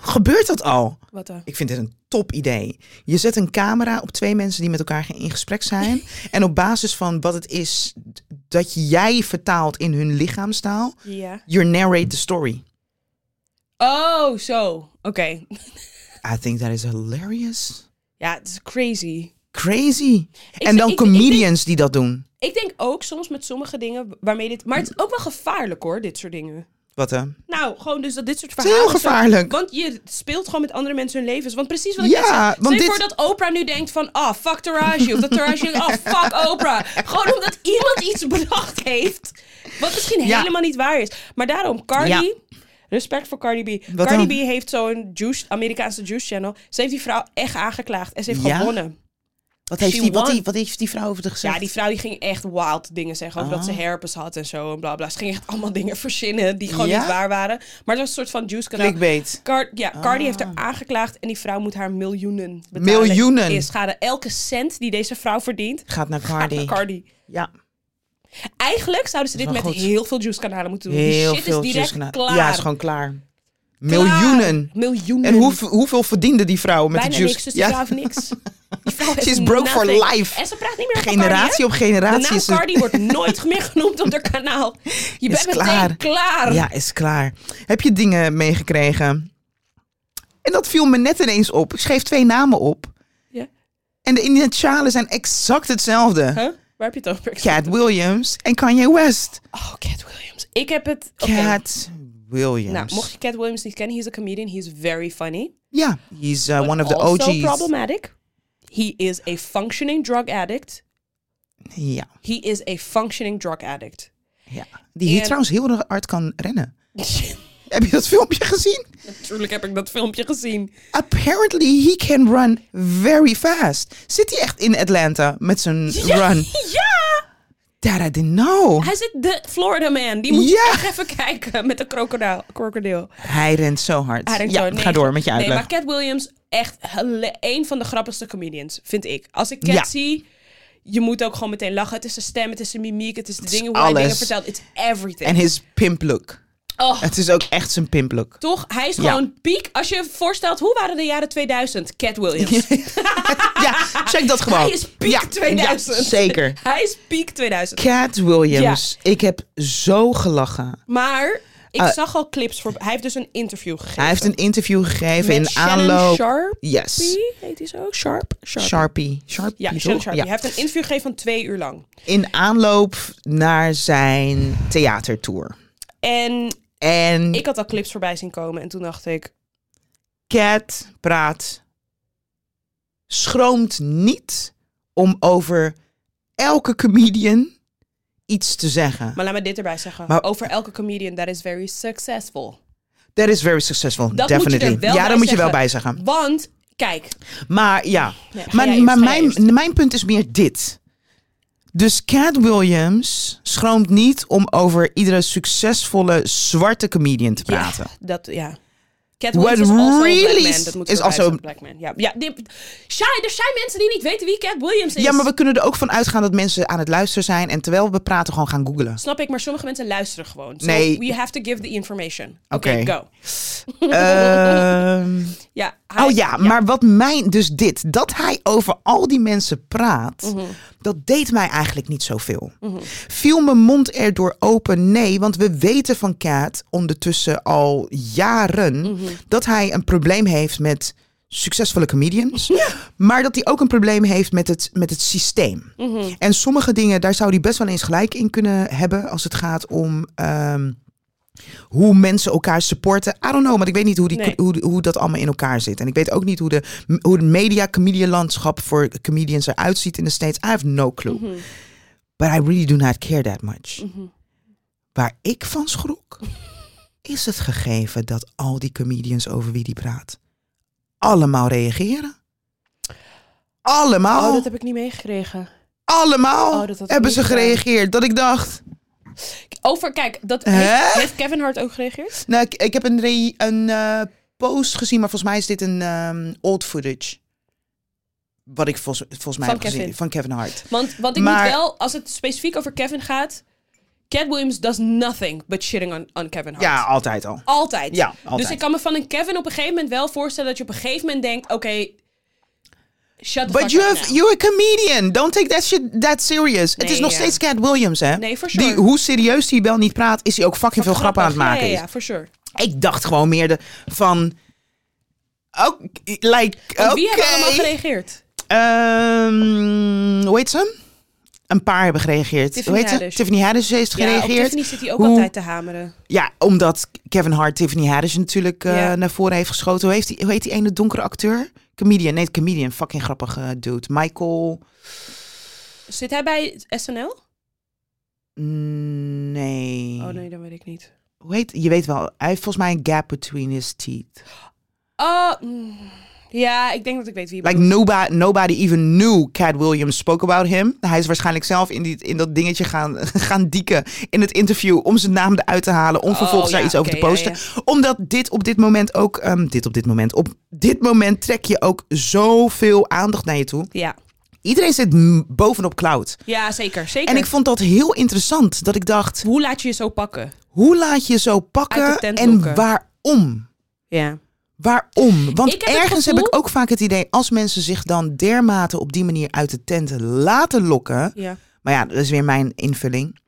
A: Gebeurt dat al?
B: Wat dan?
A: Ik vind dit een top idee. Je zet een camera op twee mensen die met elkaar ge- in gesprek zijn. en op basis van wat het is d- dat jij vertaalt in hun lichaamstaal,
B: Ja.
A: you narrate the story.
B: Oh, zo. Oké.
A: I think that is hilarious.
B: Ja, het is crazy.
A: Crazy. en
B: zou-
A: dan
B: ik- ik denk-
A: comedians die dat doen.
B: Ik denk ook soms met sommige dingen waarmee dit. Maar het is ook wel gevaarlijk hoor, dit soort dingen.
A: Wat eh? hè?
B: Nou, gewoon dus dat dit soort
A: Het is
B: verhalen...
A: heel
B: zo-
A: gevaarlijk.
B: want je speelt gewoon met andere mensen hun levens. Want precies wat ik
A: Ja,
B: net zei. Stel
A: want
B: je
A: dit-
B: voor dat Oprah nu denkt van... Ah, fuck Taraji. Of dat Taraji... Ah, fuck Oprah. Gewoon omdat iemand iets bedacht heeft. Wat misschien
A: Ja.
B: helemaal niet waar is. Maar daarom, Cardi...
A: Ja.
B: Respect voor Cardi B.
A: Wat
B: Cardi
A: dan?
B: B heeft zo'n juice, Amerikaanse juice channel. Ze heeft die vrouw echt aangeklaagd. En ze heeft
A: Ja?
B: gewonnen.
A: Wat heeft,
B: She
A: die, wat,
B: won.
A: die, wat heeft die vrouw over de gezegd?
B: Ja, die vrouw die ging echt wild dingen zeggen. Over
A: Ah.
B: dat ze herpes had en zo. En bla bla. Ze ging echt allemaal dingen verzinnen die gewoon
A: Ja?
B: niet waar waren. Maar het was een soort van juice kanaal.
A: Clickbait.
B: Car- ja, Cardi heeft haar aangeklaagd en die vrouw moet haar miljoenen betalen.
A: Ah. Miljoenen?
B: In schade. Elke cent die deze vrouw verdient,
A: Gaat naar
B: gaat
A: Cardi.
B: naar Cardi.
A: Ja.
B: Eigenlijk zouden ze dit
A: Dat
B: met
A: is wel goed.
B: heel veel juice-kanalen moeten doen.
A: Heel
B: die shit
A: veel
B: is
A: views
B: direct
A: gedaan.
B: klaar.
A: Ja, is gewoon klaar.
B: Klaar.
A: Miljoenen.
B: Miljoenen.
A: En hoeveel, hoeveel verdiende die vrouw met
B: Bijna
A: de juice?
B: niks, dus die vrouw
A: ja.
B: heeft niks. Die vrouw heeft
A: She's broke for
B: nothing.
A: life.
B: En ze praat niet meer over Cardi, hè?
A: Generatie op
B: De
A: generatie
B: naam
A: is het-
B: Cardi wordt nooit meer genoemd op haar kanaal. Je bent meteen
A: klaar.
B: klaar.
A: Ja, is klaar. Heb je dingen meegekregen? En dat viel me net ineens op. Ik schreef twee namen op.
B: Ja.
A: En de initialen zijn exact hetzelfde.
B: Huh? Waar heb je het over?
A: Cat Williams en Kanye West.
B: Oh, Cat Williams. Ik heb het... oké.
A: Cat Williams.
B: Nou, mocht je Cat Williams niet kennen, he's a comedian. He's very funny.
A: Ja, he's uh, one of the
B: also
A: OG's.
B: problematic. He is a functioning drug addict.
A: Ja,
B: He is a functioning drug addict.
A: ja. Die hier
B: En-
A: trouwens heel hard kan rennen. Heb je dat filmpje gezien?
B: Natuurlijk heb ik dat filmpje gezien.
A: Apparently he can run very fast. Zit hij echt in Atlanta met zijn run?
B: Ja!
A: That I didn't know.
B: Hij zit de Florida man. Die moet je
A: Ja.
B: echt even kijken met een krokodil. krokodil.
A: Hij rent zo hard.
B: Hij denkt
A: ja,
B: zo, nee,
A: ga door met je uitleg.
B: Nee, maar Cat Williams, echt hele- een van de grappigste comedians, vind ik. Als ik Cat
A: Ja.
B: zie, je moet ook gewoon meteen lachen. Het is zijn stem, het is zijn mimiek, het is de
A: is
B: dingen hoe hij dingen
A: alles.
B: vertelt. It's everything.
A: En his pimp look.
B: oh,
A: Het is ook echt zijn pimp look.
B: toch? Hij is
A: Ja.
B: gewoon piek. Als je je voorstelt, hoe waren de jaren 2000? Cat Williams.
A: Ja, check dat gewoon.
B: Hij is piek
A: Ja,
B: 2000.
A: ja, zeker.
B: Hij is piek 2000.
A: Cat Williams. Ik heb zo gelachen.
B: Maar ik
A: Eh.
B: zag al clips voor... Hij heeft dus een interview gegeven.
A: Hij heeft een interview gegeven
B: Met
A: in
B: Shannon
A: aanloop.
B: Sharpie,
A: Yes.
B: heet hij zo? Sharp? Sharp.
A: Sharpie. Sharpie.
B: Ja,
A: toch?
B: Shannon Sharpie.
A: Ja.
B: Hij heeft een interview gegeven van twee uur lang.
A: In aanloop naar zijn theatertour.
B: En
A: En
B: ik had al clips voorbij zien komen en toen dacht ik,
A: Cat praat. Schroomt niet om over elke comedian iets te zeggen.
B: maar laat me dit erbij zeggen.
A: Maar-
B: Over elke comedian that is very successful.
A: That is very successful,
B: Dat moet je er
A: definitely.
B: wel
A: ja,
B: bij
A: daar moet je wel
B: zeggen.
A: bij zeggen.
B: Want, kijk,
A: Maar ja,
B: Ja, ga
A: maar,
B: jij eerst,
A: maar
B: ga jij
A: mijn,
B: eerst.
A: mijn punt is meer dit. Dus Cat Williams schroomt niet om over iedere succesvolle zwarte comedian te
B: ja,
A: praten.
B: dat, ja. Cat
A: What
B: Williams is also a
A: really
B: black man. Dat moet
A: is
B: is
A: also-
B: also... black man. Ja, ja die- Shy, er zijn mensen die niet weten wie Cat Williams is.
A: Ja, maar we kunnen er ook van uitgaan dat mensen aan het luisteren zijn en terwijl we praten gewoon gaan googlen.
B: Snap ik, maar sommige mensen luisteren gewoon. So
A: Nee.
B: We have to give the information. Oké,
A: Oké.
B: go.
A: Ehm,
B: Ja, hij-
A: oh ja, maar wat mijn, dus dit, dat hij over al die mensen praat,
B: Mhm.
A: dat deed mij eigenlijk niet zoveel. Viel mijn mond erdoor open? Nee, want we weten van Kaat ondertussen al jaren
B: Mhm.
A: dat hij een probleem heeft met succesvolle comedians, maar dat hij ook een probleem heeft met het, met het systeem.
B: Mhm.
A: En sommige dingen, daar zou hij best wel eens gelijk in kunnen hebben als het gaat om. ehm, hoe mensen elkaar supporten. I don't know, want ik weet niet hoe, die,
B: Nee.
A: hoe, hoe dat allemaal in elkaar zit. En ik weet ook niet hoe, de, hoe het media landschap voor comedians eruit ziet in de States. I have no clue.
B: Mhm,
A: But I really do not care that much. Waar ik van schrok, is het gegeven dat al die comedians over wie die praat, allemaal reageren. Allemaal,
B: Oh, dat heb ik niet meegekregen.
A: allemaal
B: Oh, dat had ik
A: hebben
B: niet
A: ze
B: gedaan.
A: gereageerd. Dat ik dacht,
B: Over, kijk, dat
A: Hè?
B: heeft, heeft Kevin Hart ook gereageerd?
A: Nou, ik, ik heb een, re- een eh, post gezien, maar volgens mij is dit een ehm, old footage. Wat ik volgens, volgens mij
B: Van
A: heb gezien
B: Kevin.
A: van Kevin Hart.
B: Want, want ik
A: Maar-
B: moet wel, als het specifiek over Kevin gaat... Cat Williams does nothing but shitting on, on Kevin Hart.
A: Ja, altijd al.
B: Altijd.
A: Ja, altijd.
B: Dus ik kan me van een Kevin op een gegeven moment wel voorstellen... dat je op een gegeven moment denkt, oké... shut the
A: But
B: fuck
A: you
B: up
A: have,
B: now.
A: you're a comedian. Don't take that shit that serious. Het is
B: Nee,
A: nog
B: ja.
A: steeds Cat Williams, hè?
B: Nee, for
A: Die,
B: sure.
A: hoe serieus hij wel niet praat, is hij ook fucking veel grappen aan het
B: Grappig.
A: maken.
B: Ja,
A: is.
B: ja, ja, for sure.
A: Ik dacht gewoon meer de, van... Ook, like,
B: En
A: oké.
B: Wie hebben allemaal gereageerd?
A: Ehm, hoe heet ze? een paar hebben gereageerd.
B: Tiffany
A: Hoe heet ze?
B: Haddish.
A: Tiffany Haddish heeft
B: Ja, op
A: gereageerd.
B: Tiffany zit hij ook
A: Hoe-
B: altijd te hameren.
A: Ja, omdat Kevin Hart Tiffany Haddish natuurlijk eh,
B: Ja.
A: naar voren heeft geschoten. Hoe, heeft die, hoe heet die ene donkere acteur? Comedian. Nee, comedian. Fucking grappige dude. Michael...
B: Zit hij bij SNL?
A: Nee.
B: Oh nee, dat weet ik niet.
A: Hoe heet... Je weet wel. Hij heeft volgens mij een gap between his teeth.
B: Hm. Oh, mm. ja, ik denk dat ik weet wie je
A: Like
B: bedoelt.
A: nobody, nobody even knew Cat Williams spoke about him. Hij is waarschijnlijk zelf in, die, in dat dingetje gaan, gaan dieken in het interview om zijn naam eruit te halen. Om
B: Oh,
A: vervolgens daar
B: ja,
A: iets over
B: oké,
A: te
B: ja,
A: posten. Omdat dit op dit moment ook. ehm, dit op dit moment. Op dit moment trek je ook zoveel aandacht naar je toe.
B: Ja,
A: Iedereen zit m- bovenop cloud.
B: ja zeker, zeker.
A: En ik vond dat heel interessant. Dat ik dacht,
B: Hoe laat je je zo pakken?
A: hoe laat je zo
B: Uit
A: pakken
B: de tent
A: en
B: lokken.
A: waarom?
B: Ja.
A: Waarom? Want
B: Ik heb het
A: ergens heb ik
B: gevoel-
A: ook vaak het idee, als mensen zich dan dermate op die manier uit de tenten laten lokken.
B: ja.
A: Maar ja, dat is weer mijn invulling.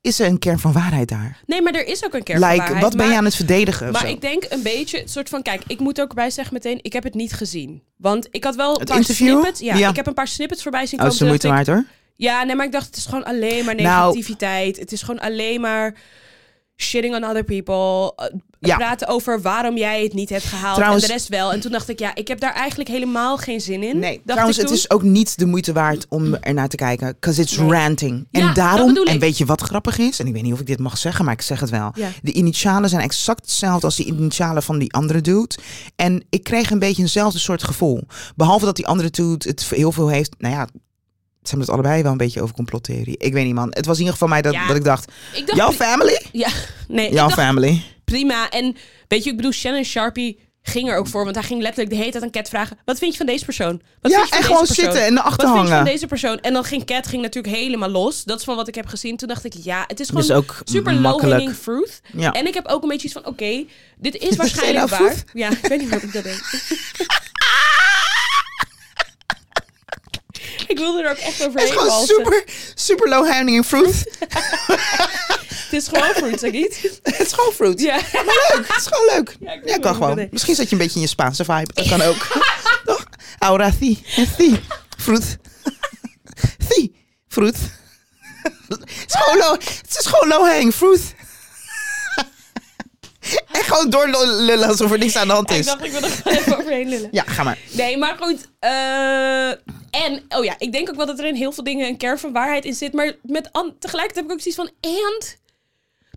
A: Is er een kern van waarheid daar?
B: Nee, maar er is ook een keer
A: Like,
B: waarheid,
A: wat ben
B: maar-
A: je aan het verdedigen? of
B: Maar
A: zo? Oh,
B: ik denk een beetje, het soort van, kijk, ik moet ook bij zeggen meteen, ik heb het niet gezien. Want ik had wel een
A: Het
B: paar
A: interview?
B: snippets. Ja,
A: Ja.
B: ik heb een paar snippets voorbij zien
A: oh, dat
B: komen.
A: is de
B: toen dacht
A: moeite
B: ik,
A: waard hoor.
B: Ja, nee, maar ik dacht, het is gewoon alleen maar
A: Nou-
B: negativiteit. het is gewoon alleen maar shitting on other people. Eh,
A: Ja.
B: Praten over waarom jij het niet hebt gehaald
A: Trouwens-
B: en de rest wel. En toen dacht ik, ja, ik heb daar eigenlijk helemaal geen zin in.
A: Nee,
B: dacht
A: trouwens,
B: ik
A: het
B: toen.
A: is ook niet de moeite waard om ernaar te kijken. Because it's
B: Nee.
A: ranting. En
B: Ja, dat
A: daarom,
B: bedoel
A: en
B: ik.
A: weet je wat grappig is? En ik weet niet of ik dit mag zeggen, maar ik zeg het wel.
B: Ja.
A: De initialen zijn exact hetzelfde als de initialen van die andere dude. En ik kreeg een beetje eenzelfde soort gevoel. Behalve dat die andere dude het heel veel heeft. Nou ja, ze hebben het allebei wel een beetje over complottheorie. Ik weet niet, man. Het was in ieder geval mij dat,
B: Ja.
A: dat ik dacht:
B: Ik dacht,
A: jouw family?
B: ja, nee, ik
A: Jouw
B: dacht,
A: family.
B: prima. En weet je, ik bedoel, Shannon Sharpie ging er ook voor. Want hij ging letterlijk de hele tijd aan Cat vragen... Wat vind je van deze persoon? Wat
A: Ja,
B: vind je
A: en
B: van
A: gewoon
B: deze persoon?
A: zitten en erachter
B: Wat vind je van
A: hangen.
B: deze persoon? En dan ging Cat ging natuurlijk helemaal los. Dat is van wat ik heb gezien. Toen dacht ik, ja, het is gewoon
A: Dus ook
B: super
A: makkelijk.
B: low-hanging fruit.
A: Ja.
B: En ik heb ook een beetje iets van, oké, dit is waarschijnlijk
A: nou
B: waar.
A: vroeg?
B: Ja, ik weet niet waarom ik dat deed. ik wilde er ook echt
A: Het is
B: overheen
A: gewoon
B: walsen.
A: super, super low hanging fruit.
B: Het is gewoon fruit, zeg ik niet?
A: het is gewoon fruit.
B: Ja.
A: Maar leuk, het is gewoon leuk.
B: Ja,
A: Ja,
B: ik
A: kan
B: weet niet hoe ik dat
A: gewoon.
B: deed.
A: Misschien zat je een beetje in je Spaanse vibe. Dat kan ook. Toch? Aura thi. Thi. Fruit. Thi. Fruit. Het is gewoon low, het is gewoon low hanging fruit. En gewoon doorlullen alsof er niks aan de hand
B: Ik
A: is.
B: dacht, ik wil er gewoon even overheen lullen.
A: Ja, ga maar.
B: Nee, maar goed. eh, en, oh ja, ik denk ook wel dat er in heel veel dingen een kern van waarheid in zit. Maar met an- tegelijkertijd heb ik ook zoiets van, and?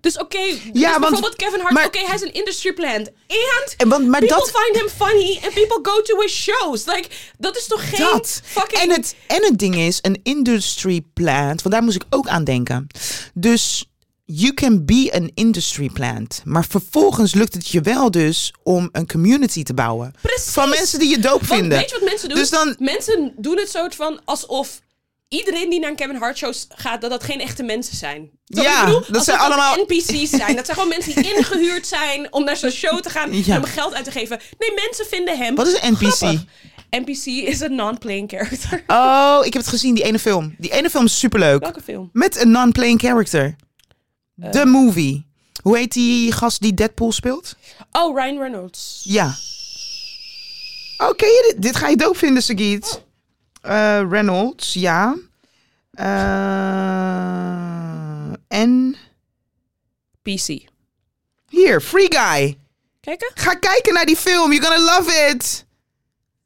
B: Dus oké, dus
A: want-
B: bijvoorbeeld Kevin Hart,
A: maar-
B: oké, hij is een industry plant. And?
A: En want, maar
B: people
A: dat,
B: find him funny and people go to his shows. Like, dat is toch geen
A: dat.
B: fucking...
A: En het, en het ding is, een industry plant, want daar moest ik ook aan denken. Dus you can be an industry plant. Maar vervolgens lukt het je wel dus om een community te bouwen.
B: Precies.
A: Van mensen die je dope
B: Want
A: vinden.
B: weet je wat mensen doen?
A: Dus dan-
B: Mensen doen het soort van alsof... Iedereen die naar een Kevin Hart show gaat, dat dat geen echte mensen zijn. Snap je wat
A: Ja,
B: ik bedoel?
A: dat
B: Alsof
A: zijn allemaal-
B: NPC's zijn. Dat zijn gewoon mensen die ingehuurd zijn om naar zo'n show te gaan
A: Ja.
B: en om geld uit te geven. Nee, mensen vinden hem.
A: Wat is een NPC?
B: grappig. NPC is een non-playing character.
A: Oh, ik heb het gezien, die ene film. Die ene film is superleuk.
B: Welke film?
A: Met een non-playing character.
B: Eh.
A: The movie. Hoe heet die gast die Deadpool speelt?
B: Oh, Ryan Reynolds.
A: Ja. Oh, ken je dit? Dit ga je dope vinden, Sagiet. Eh, Reynolds, ja. Eh, en
B: PC.
A: hier, Free Guy.
B: Kijken?
A: Ga kijken naar die film. You're gonna love it.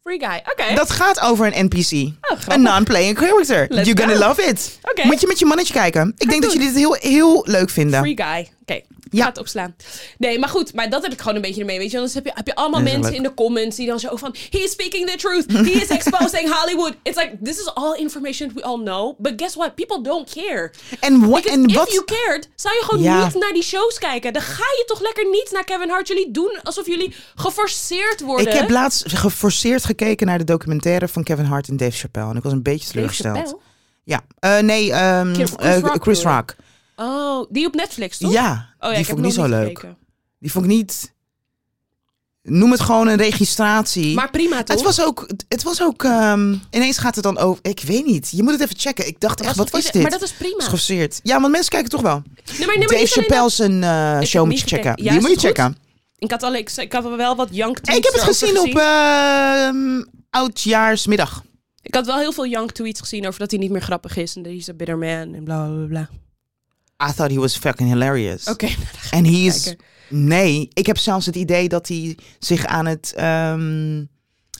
B: Free Guy. Oké.
A: Dat gaat over een NPC.
B: Oh, grappig.
A: een non-playing character.
B: Let's
A: You're gonna
B: go.
A: love it.
B: Oké.
A: Moet je met je mannetje kijken. Ik denk dat
B: doen.
A: je dit heel, heel leuk vindt.
B: Free guy. Oké,
A: Ja.
B: ja. het opslaan. Nee, maar goed, maar dat heb ik gewoon een beetje ermee, weet je. Anders heb je, heb je allemaal
A: Dat is wel
B: mensen
A: leuk.
B: in de comments die dan zo van... He is speaking the truth. He is exposing Hollywood. It's like, this is all information we all know. But guess what? People don't care.
A: En, wa-
B: Because
A: en
B: if
A: wat...
B: you cared, zou je gewoon
A: Ja.
B: niet naar die shows kijken. Dan ga je toch lekker niet naar Kevin Hart. Jullie doen alsof jullie geforceerd worden.
A: Ik heb laatst geforceerd gekeken naar de documentaire van Kevin Hart en Dave Chappelle. En ik was een beetje teleurgesteld.
B: Chappelle?
A: Ja. Eh, nee, ehm,
B: Chris
A: eh,
B: Rock
A: Chris
B: bedoel je?
A: Rock.
B: Oh, die op Netflix, toch?
A: Ja,
B: Oh,
A: die
B: ja, ik heb
A: vond ik niet zo
B: nog
A: leuk.
B: gekeken.
A: Die vond ik niet... Noem het gewoon een registratie.
B: Maar prima, toch?
A: het was ook... Het was ook ehm, ineens gaat het dan over... Ik weet niet. Je moet het even checken. Ik dacht echt,
B: Was
A: wat
B: toch
A: is
B: ieder-
A: dit?
B: Maar dat is prima.
A: Geforceerd. Ja, want mensen kijken toch wel.
B: Nee, maar, nee, maar
A: Dave
B: niet alleen dat-
A: Chappelle zijn eh,
B: heb
A: show
B: het
A: moet je
B: niet
A: checken.
B: gekeken. Ja,
A: die
B: is
A: moet je
B: het goed?
A: checken.
B: Ik had, al, ik, ik had wel wat young eh,
A: En ik heb het gezien op ehm oudjaarsmiddag.
B: Ik Ik had wel heel veel young tweets gezien over dat hij niet meer grappig is. En dat he's a bitter man en bla bla bla, bla.
A: I thought he was fucking hilarious.
B: Oké, nou,
A: En hij is...
B: kijken.
A: Nee, ik heb zelfs het idee dat hij zich aan het, ehm,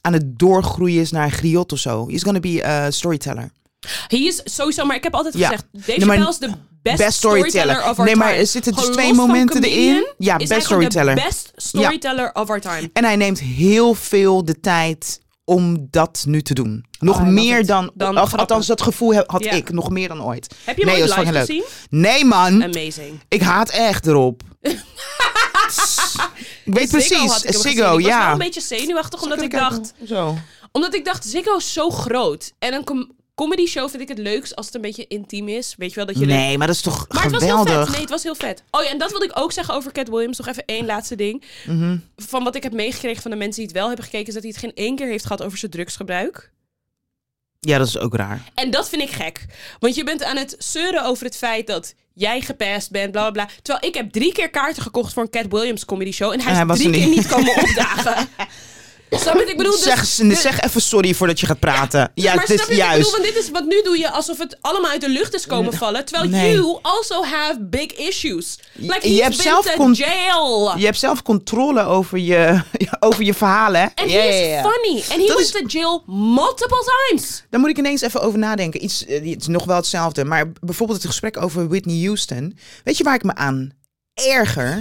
A: aan het doorgroeien is naar een griot of zo. He's gonna be a storyteller.
B: Hij is sowieso, maar ik heb altijd
A: Ja.
B: gezegd, Dave
A: Nee, maar-
B: Chappelle is de best,
A: Best storyteller.
B: of our
A: nee, maar
B: time.
A: er zitten dus
B: Gewoon
A: twee
B: los van
A: momenten
B: comedian
A: erin. Ja,
B: is
A: best
B: hij gewoon
A: storyteller.
B: de best storyteller of our time.
A: En hij neemt heel veel de tijd om dat nu te doen. Nog
B: I love
A: meer
B: it.
A: dan...
B: Dan
A: of,
B: grappen.
A: althans, dat gevoel he- had
B: Ja.
A: ik. Nog meer dan ooit.
B: Heb je hem
A: Nee,
B: ooit
A: dat is
B: live
A: fucking
B: gezien?
A: Nee, man.
B: Amazing.
A: Ik haat echt erop. ik weet
B: Ziggo
A: precies.
B: had ik hem gezien.
A: Ziggo,
B: Ik was wel
A: ja.
B: een beetje zenuwachtig, omdat ik
A: Even kijken.
B: dacht...
A: Zo.
B: Omdat ik dacht, Ziggo is zo groot. En een com comedy show vind ik het leukst als het een beetje intiem is. Weet je wel, dat jullie...
A: Nee, maar dat is toch
B: Maar het was heel
A: geweldig.
B: vet. Nee, het was heel vet. Oh ja, en dat wilde ik ook zeggen over Cat Williams. Nog even één laatste ding.
A: Mhm.
B: Van wat ik heb meegekregen van de mensen die het wel hebben gekeken... is dat hij het geen één keer heeft gehad over zijn drugsgebruik.
A: Ja, dat is ook raar.
B: En dat vind ik gek. Want je bent aan het zeuren over het feit dat jij gepest bent, bla bla bla. Terwijl ik heb drie keer kaarten gekocht voor een Cat Williams comedy show. En hij
A: En
B: is
A: hij was
B: drie
A: er
B: keer
A: niet.
B: niet komen opdagen. snap je wat ik bedoel? Dus-
A: Zeg, zeg even sorry voordat je gaat praten. Ja,
B: maar
A: het is
B: snap je wat ik
A: juist.
B: bedoel? Want dit is wat nu doe je alsof het allemaal uit de lucht is komen vallen. Terwijl
A: nee.
B: you also have big issues. Like
A: Je
B: he's
A: hebt
B: been
A: zelf
B: to
A: con-
B: jail.
A: Je hebt zelf controle over je, over je verhalen. hè?
B: En
A: Ja,
B: he is
A: ja, ja.
B: funny. En he
A: Dat
B: went
A: is-
B: to jail multiple times.
A: Daar moet ik ineens even over nadenken. Iets, eh, het is nog wel hetzelfde. Maar bijvoorbeeld het gesprek over Whitney Houston. Weet je waar ik me aan erger?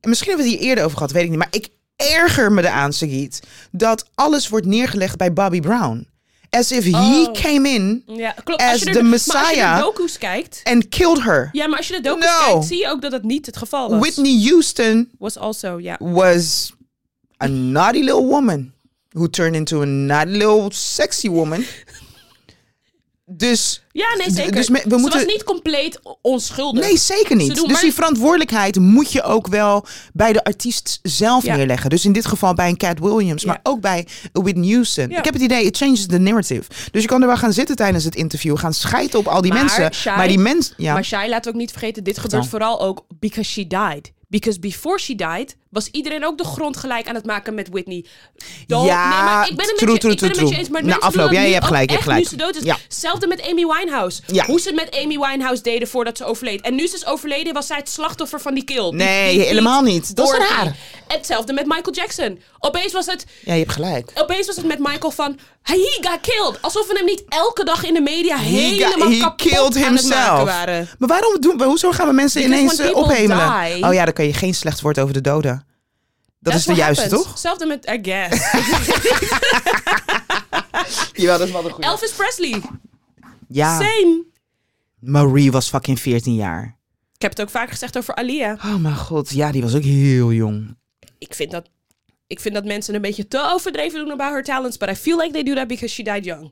A: En misschien hebben we het hier eerder over gehad, weet ik niet. Maar ik erger me eraan, Sagiet, dat alles wordt neergelegd bij Bobby Brown. As if he
B: Oh.
A: came in
B: Ja, klopt.
A: As
B: als je er,
A: the
B: Maar als je
A: Messiah.
B: de docu's kijkt...
A: and killed her.
B: Ja, maar als je de docu's
A: No.
B: kijkt, zie je ook dat dat niet het geval was.
A: Whitney Houston
B: was also, ja.
A: was a naughty little woman who turned into a naughty little sexy woman. Dus
B: Ja, nee,
A: D-
B: zeker.
A: dus me- we moeten-
B: Ze was niet compleet o- onschuldig.
A: Nee, zeker
B: Ze
A: niet.
B: doen
A: Dus
B: maar-
A: die verantwoordelijkheid moet je ook wel bij de artiest zelf
B: Ja.
A: neerleggen. Dus in dit geval bij een Cat Williams,
B: Ja.
A: maar ook bij Whitney Houston.
B: Ja.
A: Ik heb het idee, it changes the narrative. Dus je kan er wel gaan zitten tijdens het interview, gaan schijten op al die
B: Maar,
A: mensen.
B: Shai-
A: maar die mensen... Ja,
B: Maar Shai, laten we ook niet vergeten, dit gebeurt
A: dan?
B: vooral ook because she died. Because before she died, was iedereen ook de grond gelijk aan het maken met Whitney. Don't-
A: Ja,
B: nee, maar ik ben het met
A: true,
B: je-
A: true,
B: ik ben het
A: true,
B: met je eens, maar
A: true. Na
B: mensen
A: afloop,
B: doen dat
A: ja, je
B: nu
A: hebt
B: ook
A: gelijk, je
B: echt
A: hebt
B: nu ze
A: gelijk.
B: dood is.
A: Ja.
B: Hetzelfde met Amy Winehouse.
A: Ja.
B: Hoe ze het met Amy Winehouse deden voordat ze overleed. En nu ze is overleden, was zij het slachtoffer van die kill. Die-
A: Nee,
B: die- die-
A: helemaal niet. Dat is
B: door-
A: raar.
B: Hetzelfde met Michael Jackson. Opeens was het,
A: ja, je hebt gelijk.
B: opeens was het met Michael van... He got killed. Alsof we hem niet elke dag in de media helemaal
A: he
B: kapot
A: killed
B: aan het maken
A: himself.
B: waren.
A: Maar waarom doen we, hoezo gaan we mensen
B: Because
A: ineens
B: when
A: eh,
B: people
A: ophemelen?
B: die-
A: oh ja, dan kan je geen slecht woord over de doden. Dat is de
B: what
A: juiste,
B: happens.
A: toch?
B: Hetzelfde met, I guess.
A: Jawel, dat is wel een goede.
B: Elvis Presley.
A: Ja,
B: Same.
A: Marie was fucking 14 jaar.
B: Ik heb het ook vaak gezegd over Alia.
A: Oh mijn god, ja, die was ook heel jong.
B: Ik vind dat, ik vind dat mensen een beetje te overdreven doen about her talents. But I feel like they do that because she died young.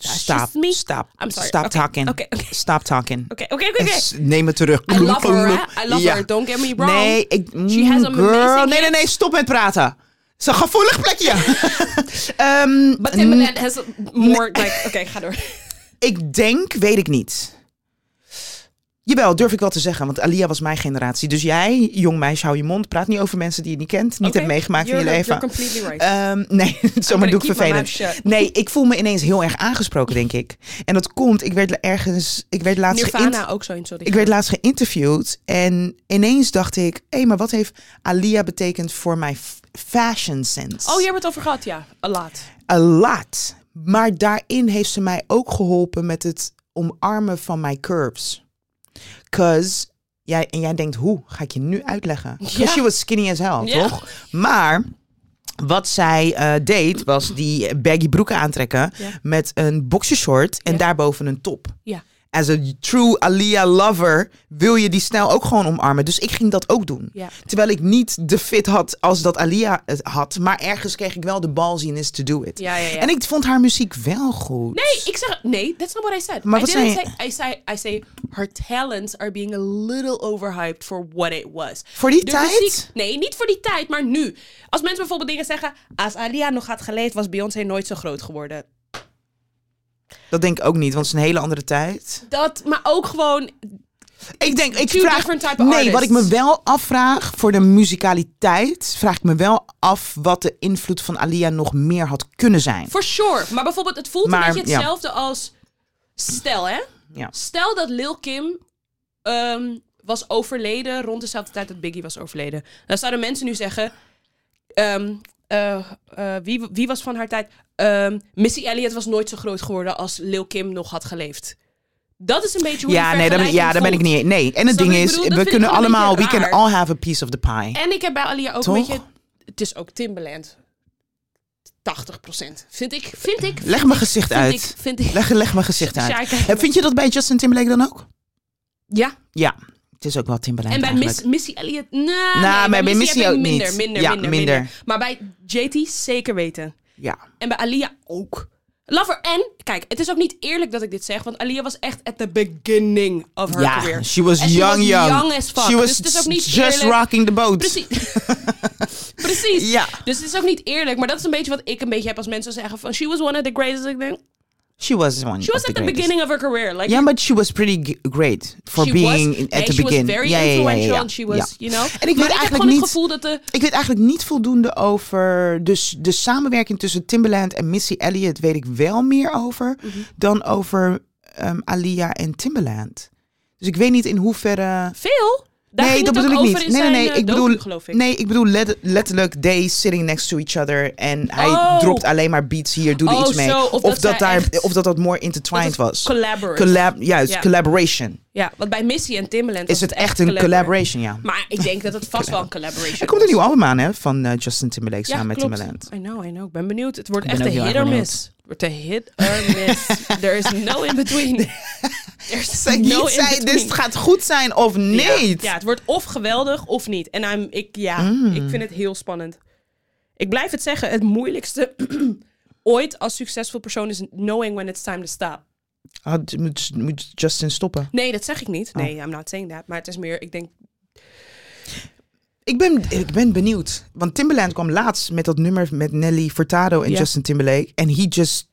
B: she's
A: Stop,
B: me.
A: stop,
B: I'm sorry.
A: stop
B: Okay,
A: talking.
B: okay, okay.
A: Stop talking.
B: Oké, oké, oké. oké.
A: S- Neem het terug.
B: I love her, hè? I love her. Don't get me wrong.
A: Nee, ik...
B: She has
A: mm,
B: an
A: girl.
B: amazing
A: Nee, nee, nee,
B: hits.
A: stop met praten. Het is een gevoelig plekje. Ehm,
B: But
A: mm,
B: Timbaland has more like... Oké, ga door.
A: ik denk, weet ik niet. Jawel, durf ik wel te zeggen, want Alia was mijn generatie. Dus jij, jong meisje, hou je mond. Praat niet over mensen die je niet kent, niet
B: Oké,
A: hebt meegemaakt in je
B: you're-
A: leven.
B: You're completely right.
A: Ehm, nee, zomaar doe ik
B: keep my
A: vervelend.
B: mouth shut.
A: Nee, ik voel me ineens heel erg aangesproken, denk ik. En dat komt, ik werd ergens, ik werd laatst, geïnt-
B: Nirvana ook zo in, sorry.
A: ik werd laatst geïnterviewd. En ineens dacht ik, hé, maar wat heeft Alia betekend voor mijn f- fashion sense?
B: Oh, je hebt het over gehad, ja. A lot.
A: A lot. Maar daarin heeft ze mij ook geholpen met het omarmen van mijn curves. Cause, jij, en jij denkt, hoe ga ik je nu uitleggen? Because
B: Ja.
A: she was skinny as hell,
B: Ja.
A: toch? Maar wat zij eh, deed, was die baggy broeken aantrekken
B: Ja.
A: met een boxershort en
B: Ja.
A: daarboven een top.
B: Ja.
A: As a true Alia lover wil je die stijl ook gewoon omarmen. Dus ik ging dat ook doen.
B: Ja.
A: Terwijl ik niet de fit had als dat Alia het had. Maar ergens kreeg ik wel de ballsiness to do it.
B: Ja, ja, ja.
A: En ik vond haar muziek wel goed.
B: Nee, ik zeg nee. That's not what I said.
A: Maar
B: I
A: wat
B: didn't
A: zei je?
B: say. I say I say her talents are being a little overhyped for what it was.
A: Voor die
B: De
A: tijd?
B: muziek- nee, niet voor die tijd, maar nu. Als mensen bijvoorbeeld dingen zeggen, als Alia nog had geleefd, was Beyoncé nooit zo groot geworden.
A: Dat denk ik ook niet, want het is een hele andere tijd.
B: Dat, maar ook gewoon
A: Ik denk, ik
B: Two
A: vraag...
B: different type
A: Nee,
B: artists.
A: wat ik me wel afvraag voor de muzikaliteit, vraag ik me wel af wat de invloed van Alia nog meer had kunnen zijn.
B: For sure. Maar bijvoorbeeld, het voelt
A: Maar,
B: een beetje
A: ja.
B: hetzelfde als... Stel, hè?
A: Ja.
B: Stel dat Lil Kim ehm, was overleden rond dezelfde tijd dat Biggie was overleden. Dan zouden mensen nu zeggen... ehm, eh, eh, wie, wie was van haar tijd? Ehm, Missy Elliott was nooit zo groot geworden als Lil Kim nog had geleefd. Dat is een beetje hoe
A: Ja,
B: die
A: nee, daar,
B: vergelijking
A: ja, daar ben ik
B: voelt.
A: niet. Nee, en het
B: Snap
A: ding
B: je? Ik
A: is,
B: bedoel, dat
A: we
B: vind
A: kunnen
B: ik een beetje
A: allemaal, we can
B: raar.
A: all have a piece of the pie.
B: En ik heb bij Alia ook een
A: Toch?
B: beetje... Het is ook Timbaland. 80 Vind ik, vind ik.
A: Leg mijn gezicht
B: vind
A: uit.
B: ik, vind ik.
A: Leg, leg mijn gezicht
B: Ja,
A: uit.
B: ik kijk-
A: Eh, Vind je dat bij Justin Timberlake dan ook?
B: Ja,
A: Ja, het is ook wel Timberlake
B: en bij
A: eigenlijk.
B: Miss, Missy Elliott... Nah,
A: maar
B: nee,
A: bij Missy
B: heb ik
A: ook
B: minder,
A: niet.
B: Minder,
A: Ja,
B: minder,
A: minder.
B: minder, Maar bij JT zeker weten.
A: Ja.
B: En bij Alia ook. Lover en, kijk, het is ook niet eerlijk dat ik dit zeg, want Alia was echt at the beginning of her
A: Ja,
B: career.
A: she was
B: En
A: young,
B: was
A: young.
B: young as fuck.
A: She was
B: dus het is ook niet
A: just
B: eerlijk.
A: rocking the boat.
B: Precies. Precies.
A: Ja.
B: Dus het is ook niet eerlijk, maar dat is een beetje wat ik een beetje heb als mensen zeggen van she was one of the greatest. Ik denk,
A: She was one
B: she
A: of the
B: was at the
A: greatest.
B: beginning of her career. Like,
A: Yeah, but she was pretty g- great for
B: she
A: being
B: was,
A: in-
B: nee,
A: at the
B: she
A: beginning.
B: was very
A: Ja, ja, ja, ja,
B: influential
A: ja.
B: and she was,
A: Ja.
B: you know.
A: En ik weet
B: maar ik heb
A: eigenlijk
B: gewoon
A: niet...
B: het gevoel dat de...
A: Ik weet eigenlijk niet voldoende over. Dus de samenwerking tussen Timbaland en Missy Elliott weet ik wel meer over
B: Mhm.
A: dan over ehm Alia en Timbaland. Dus ik weet niet in hoeverre.
B: Veel? Daar
A: nee,
B: ging
A: dat
B: het
A: bedoel
B: ook
A: ik
B: over
A: niet.
B: in
A: Nee, nee,
B: zijn,
A: nee.
B: eh,
A: ik
B: docu,
A: bedoel,
B: geloof ik.
A: nee, ik bedoel let- letterlijk they sitting next to each other en hij
B: Oh.
A: dropt alleen maar beats hier, doe er
B: Oh,
A: iets mee.
B: zo, of dat zij
A: dat daar,
B: echt-
A: of dat dat more intertwined
B: Dat het
A: was.
B: Collaborate.
A: Collab, juist,
B: Ja.
A: collaboration.
B: ja, want bij Missy en Timbaland was
A: Is het echt een collaboration? Ja.
B: Maar ik denk dat het vast wel een collaboration
A: Er komt een
B: was.
A: nieuw album aan hè, van eh, Justin Timberlake
B: ja,
A: samen met
B: klopt.
A: Timbaland.
B: I know, I know. Ik ben benieuwd. Het wordt
A: Ik ben
B: echt een
A: ook heel
B: hit
A: erg
B: or
A: benieuwd.
B: miss. Het wordt een hit or miss. There is no in between. There's
A: Zij
B: no
A: niet
B: in
A: zei,
B: between.
A: dit gaat goed zijn of niet. Mm.
B: Ja, het wordt of geweldig of niet. En I'm, ik, ja, ik vind het heel spannend. Ik blijf het zeggen, het moeilijkste ooit als succesvol persoon is knowing when it's time to stop.
A: Had- Ah, moet, moet Justin stoppen.
B: Nee, dat zeg ik niet. Nee, I'm not saying that. Maar het is meer, ik denk,
A: Ik ben, ik ben benieuwd. Want Timberland kwam laatst met dat nummer met Nelly Furtado en
B: Ja.
A: Justin Timberlake. En he just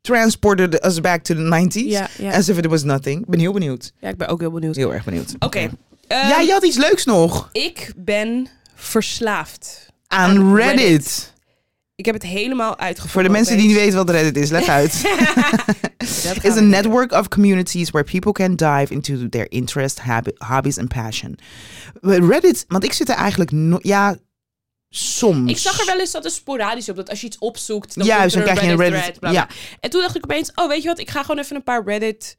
A: transported us back to the 90s.
B: Ja, ja.
A: As if it was nothing. Ik ben heel benieuwd.
B: ja, ik ben ook heel benieuwd. Oké.
A: Heel erg benieuwd.
B: ehm,
A: Ja, je had iets leuks nog.
B: Ik ben verslaafd.
A: Aan
B: aan
A: Reddit.
B: Reddit. Ik heb het helemaal uitgevoerd.
A: Voor de mensen die niet weten wat Reddit is, leg uit.
B: weten,
A: is a network of communities where people can dive into their interests, habi- hobbies and passion. Reddit, want ik zit er eigenlijk no- ja soms.
B: Ik zag er wel eens dat er sporadisch op dat als je iets opzoekt, dan,
A: Ja,
B: komt
A: dus dan
B: er
A: krijg je een
B: Reddit
A: Reddit,
B: thread, bla, bla. En toen dacht ik opeens, oh weet je wat, ik ga gewoon even een paar Reddit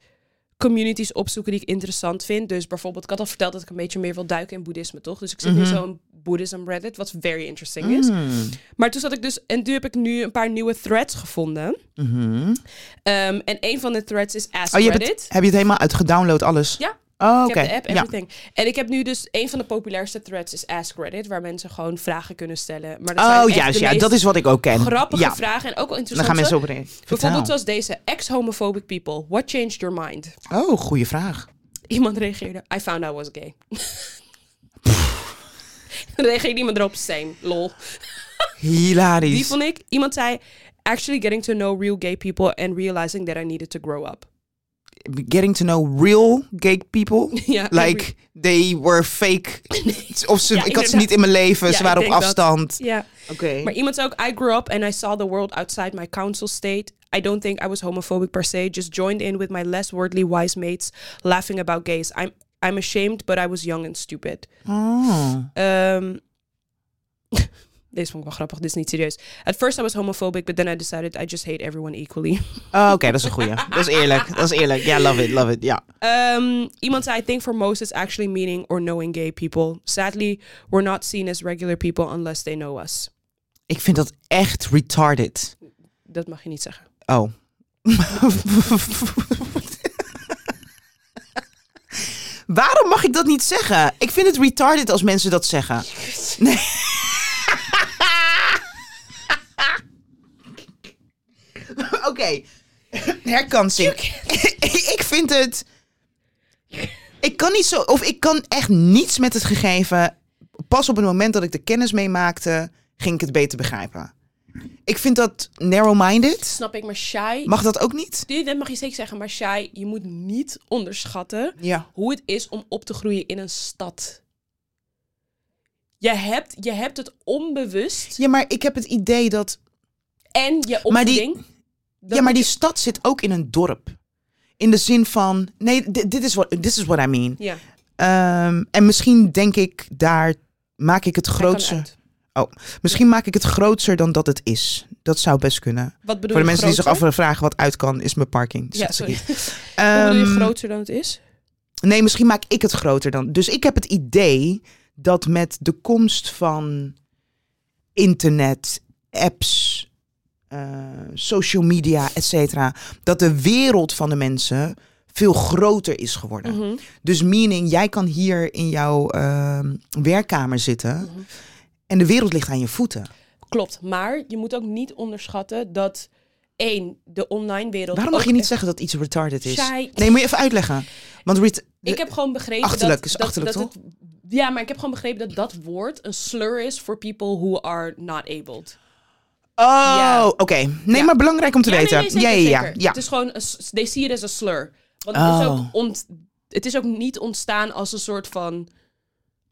B: communities opzoeken die ik interessant vind. Dus bijvoorbeeld, ik had al verteld dat ik een beetje meer wil duiken in boeddhisme, toch? Dus ik zit
A: Mhm.
B: nu zo'n boeddhism Reddit, wat very interesting
A: Mm.
B: is.
A: Hmm.
B: Maar toen zat ik dus, en nu heb ik nu een paar nieuwe threads gevonden. Ehm, en een van de threads is Ask
A: Mhm. Oh, je hebt
B: Reddit.
A: het, heb je het helemaal uitgedownload alles?
B: Ja,
A: Oh,
B: ik
A: oké.
B: heb de app,
A: Ja.
B: everything. En ik heb nu dus, een van de populairste threads is Ask Reddit, waar mensen gewoon vragen kunnen stellen. Maar dat zijn
A: Oh,
B: echt
A: juist.
B: de
A: Ja,
B: meest
A: dat is wat ik ook ken.
B: grappige
A: ja.
B: vragen en ook wel
A: Dan
B: interessant.
A: gaan mensen op Reddit.
B: Bijvoorbeeld zoals deze. Ex-homophobic people, what changed your mind?
A: Oh, goede vraag.
B: Iemand reageerde, I found I was gay. Dan reageerde iemand erop, same, lol. Die
A: Hilarisch.
B: vond ik, iemand zei, actually getting to know real gay people and realizing that I needed to grow up.
A: Getting to know real gay people.
B: Ja,
A: like they were fake. Of ze,
B: Ja,
A: ik had ze
B: inderdaad.
A: niet in mijn leven.
B: Ja,
A: ze
B: ik
A: waren op
B: denk dat.
A: afstand.
B: Ja.
A: Oké.
B: Maar iemand zei ook, I grew up and I saw the world outside my council state. I don't think I was homophobic per se, just joined in with my less worldly wise mates laughing about gays. I'm, I'm ashamed, but I was young and stupid.
A: Oh.
B: Ehm, deze vond ik wel grappig, dit is niet serieus. At first I was homophobic, but then I decided I just hate everyone equally.
A: Oh, Oké, dat is een goeie. Dat is eerlijk. Dat is eerlijk. Ja, love it, love it. Ja.
B: Ehm, iemand zei, I think for most it's actually meaning or knowing gay people. Sadly, we're not seen as regular people unless they know us.
A: Ik vind dat echt retarded.
B: Dat mag je niet zeggen.
A: Oh. Waarom mag ik dat niet zeggen? Ik vind het retarded als mensen dat zeggen. Nee. Oké. Herkansing. ik vind het... Ik kan niet zo... Of ik kan echt niets met het gegeven. Pas op het moment dat ik de kennis meemaakte, ging ik het beter begrijpen. Ik vind dat narrow-minded.
B: Snap ik, maar shy...
A: Mag dat ook niet?
B: Nee, dat mag je zeker zeggen, maar shy, je moet niet onderschatten
A: Ja.
B: hoe het is om op te groeien in een stad. Je hebt, je hebt het onbewust
A: Ja, maar ik heb het idee dat...
B: en je
A: Maar die-
B: opvoeding. dat
A: ja, maar
B: moet
A: die stad zit ook in een dorp. In de zin van... Nee, dit dit is what, this is what I mean.
B: je- Ja,
A: Ehm, en misschien denk ik daar... Maak ik het grootser...
B: grootste.
A: Misschien maak ik het grootser dan dat het is. Dat zou best kunnen.
B: Wat bedoel
A: Voor de
B: je
A: mensen die zich
B: groter?
A: afvragen wat uit kan, is mijn parking.
B: Ja,
A: Zet ze
B: sorry.
A: niet.
B: Wat bedoel je
A: Ehm,
B: groter dan het is?
A: Nee, misschien maak ik het groter dan. Dus ik heb het idee dat met de komst van internet, apps, eh, social media, et cetera, dat de wereld van de mensen veel groter is geworden.
B: Mhm.
A: Dus meaning, jij kan hier in jouw ehm, werkkamer zitten
B: Mhm.
A: en de wereld ligt aan je voeten.
B: Klopt, maar je moet ook niet onderschatten dat één, de online wereld...
A: Waarom mag
B: ook
A: je niet
B: echt
A: zeggen dat iets retarded is?
B: Shy.
A: Nee, moet je even uitleggen. Want ret-
B: Ik heb gewoon begrepen
A: Achterlijk
B: dat...
A: is
B: dat-
A: achterlijk,
B: dat het- ja, maar ik heb gewoon begrepen dat dat woord een slur is voor people who are not abled.
A: Oh,
B: Ja.
A: oké. Nee,
B: Ja.
A: maar belangrijk om te
B: Ja, nee,
A: weten.
B: nee, zeker,
A: ja, ja, ja.
B: zeker.
A: ja.
B: Het is gewoon, een s- they see it as a slur. Want het, is
A: Oh.
B: ook ont, het is ook niet ontstaan als een soort van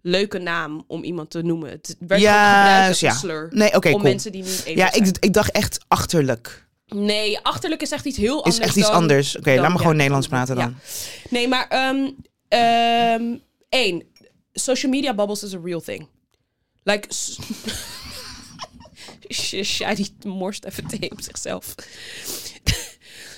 B: leuke naam om iemand te noemen. Het werd gewoon gebruikt
A: Juist,
B: als
A: ja.
B: een slur.
A: Nee, oké,
B: om
A: cool.
B: mensen die niet even
A: ja, ik, ik dacht echt achterlijk.
B: Nee, achterlijk is echt iets heel anders
A: Is echt iets
B: dan-
A: anders. Oké,
B: dan-
A: laat me
B: ja.
A: gewoon Nederlands praten dan.
B: Nee, maar ehm ehm, één. Social media bubbles is a real thing. Like... s- Sh- Shai die morst even thee op zichzelf.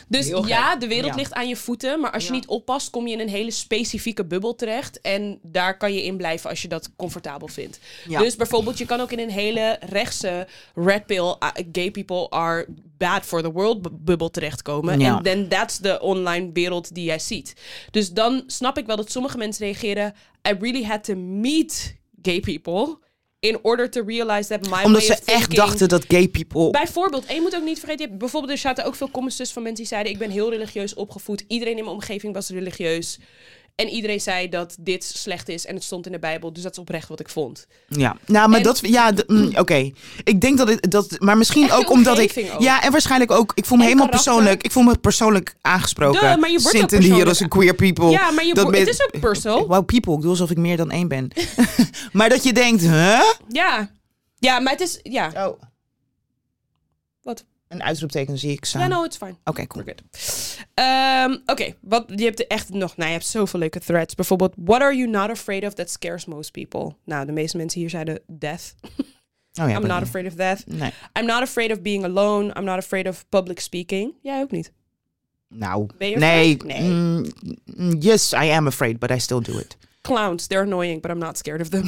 B: Dus
A: Heel
B: ja,
A: gek.
B: de wereld
A: Ja.
B: ligt aan je voeten. Maar als je
A: Ja.
B: niet oppast, kom je in een hele specifieke bubbel terecht. En daar kan je in blijven als je dat comfortabel vindt.
A: Ja.
B: Dus bijvoorbeeld, je kan ook in een hele rechtse red pill, uh, gay people are bad for the world bu- bubbel terechtkomen.
A: Ja.
B: En dan that's de online wereld die jij ziet. Dus dan snap ik wel dat sommige mensen reageren, I really had to meet gay people in order to realize that my
A: Omdat
B: way
A: ze echt
B: of thinking-
A: dachten dat gay people...
B: Bijvoorbeeld, en je moet ook niet vergeten, je hebt, bijvoorbeeld er zaten ook veel comments tussen van mensen die zeiden, ik ben heel religieus opgevoed, iedereen in mijn omgeving was religieus. En iedereen zei dat dit slecht is en het stond in de Bijbel, dus dat is oprecht wat ik vond.
A: Ja, nou, maar
B: En-
A: dat... Ja, d- mm, oké. Ik denk dat het... Dat, maar misschien
B: Echt
A: ook
B: je
A: omdat ik...
B: omgeving ook.
A: Ja, en waarschijnlijk ook... Ik voel me
B: En
A: helemaal
B: karakter.
A: persoonlijk... Ik voel me persoonlijk aangesproken.
B: Duh, maar je wordt ook
A: Sinds in die hier als een
B: persoonlijk
A: queer people.
B: Ja, maar je
A: dat
B: wo-
A: men-
B: het is ook personal.
A: Wauw, people. Ik doe alsof ik meer dan één ben. maar dat je denkt, huh?
B: Ja. Ja, maar het is... Ja,
A: Oh,
B: wat?
A: een uitroepteken zie ik staan.
B: Ja, no, it's fine.
A: Oké, cool.
B: We're good. Ehm, Oké, wat je hebt echt nog... Nou, je hebt zoveel leuke threads. Bijvoorbeeld, what are you not afraid of that scares most people? Nou, de meeste mensen hier zeiden death.
A: Oh ja,
B: I'm
A: maar-
B: not afraid of death.
A: Nee.
B: I'm not afraid of being alone. I'm not afraid of public speaking. Jij ook niet.
A: Nou,
B: Ben je
A: nee.
B: afraid? Nee.
A: mm, mm, yes, I am afraid, but I still do it.
B: Clowns, they're annoying, but I'm not scared of them.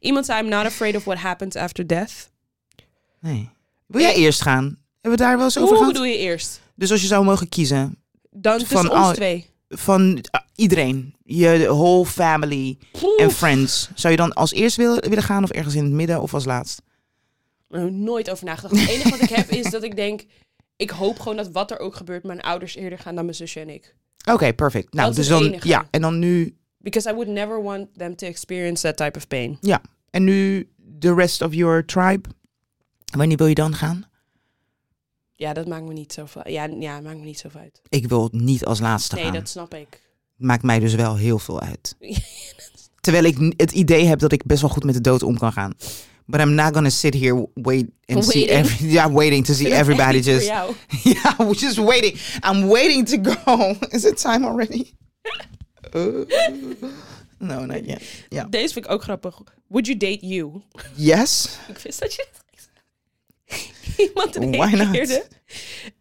B: Iemand zei, I'm not afraid of what happens after death.
A: Nee. Wil jij eerst gaan? Hebben we daar wel eens over
B: Hoe
A: gehad?
B: bedoel je eerst?
A: Dus als je zou mogen kiezen
B: Dan tussen
A: Van
B: ons
A: al-
B: twee.
A: van ah, iedereen, je whole family en friends, zou je dan als eerst wil, willen gaan of ergens in het midden of als laatst?
B: er nooit over nagedacht. Het enige wat ik heb is dat ik denk... Ik hoop gewoon dat wat er ook gebeurt... mijn ouders eerder gaan dan mijn zusje en ik.
A: Oké, perfect. Nou,
B: Dat is
A: dus
B: het
A: dan
B: enige.
A: ja, en dan nu
B: Because I would never want them to experience that type of pain.
A: en nu the rest of your tribe. Wanneer wil je dan gaan?
B: Ja, dat maakt me niet zoveel ja, ja, maakt me niet zoveel uit.
A: Ik wil niet als laatste
B: Nee,
A: gaan.
B: dat snap ik.
A: Maakt mij dus wel heel veel uit. Terwijl ik n- het idee heb dat ik best wel goed met de dood om kan gaan. But I'm not gonna sit here wait and see
B: Waiting.
A: every, yeah, waiting to see everybody
B: Echt niet
A: just
B: Voor jou.
A: yeah, we're just waiting. I'm waiting to go. Is it time already? Uh, no, not yet. Yeah.
B: Deze vind ik ook grappig. Would you date you?
A: Yes.
B: Ik wist dat je dat Iemand
A: Why not?
B: reageerde.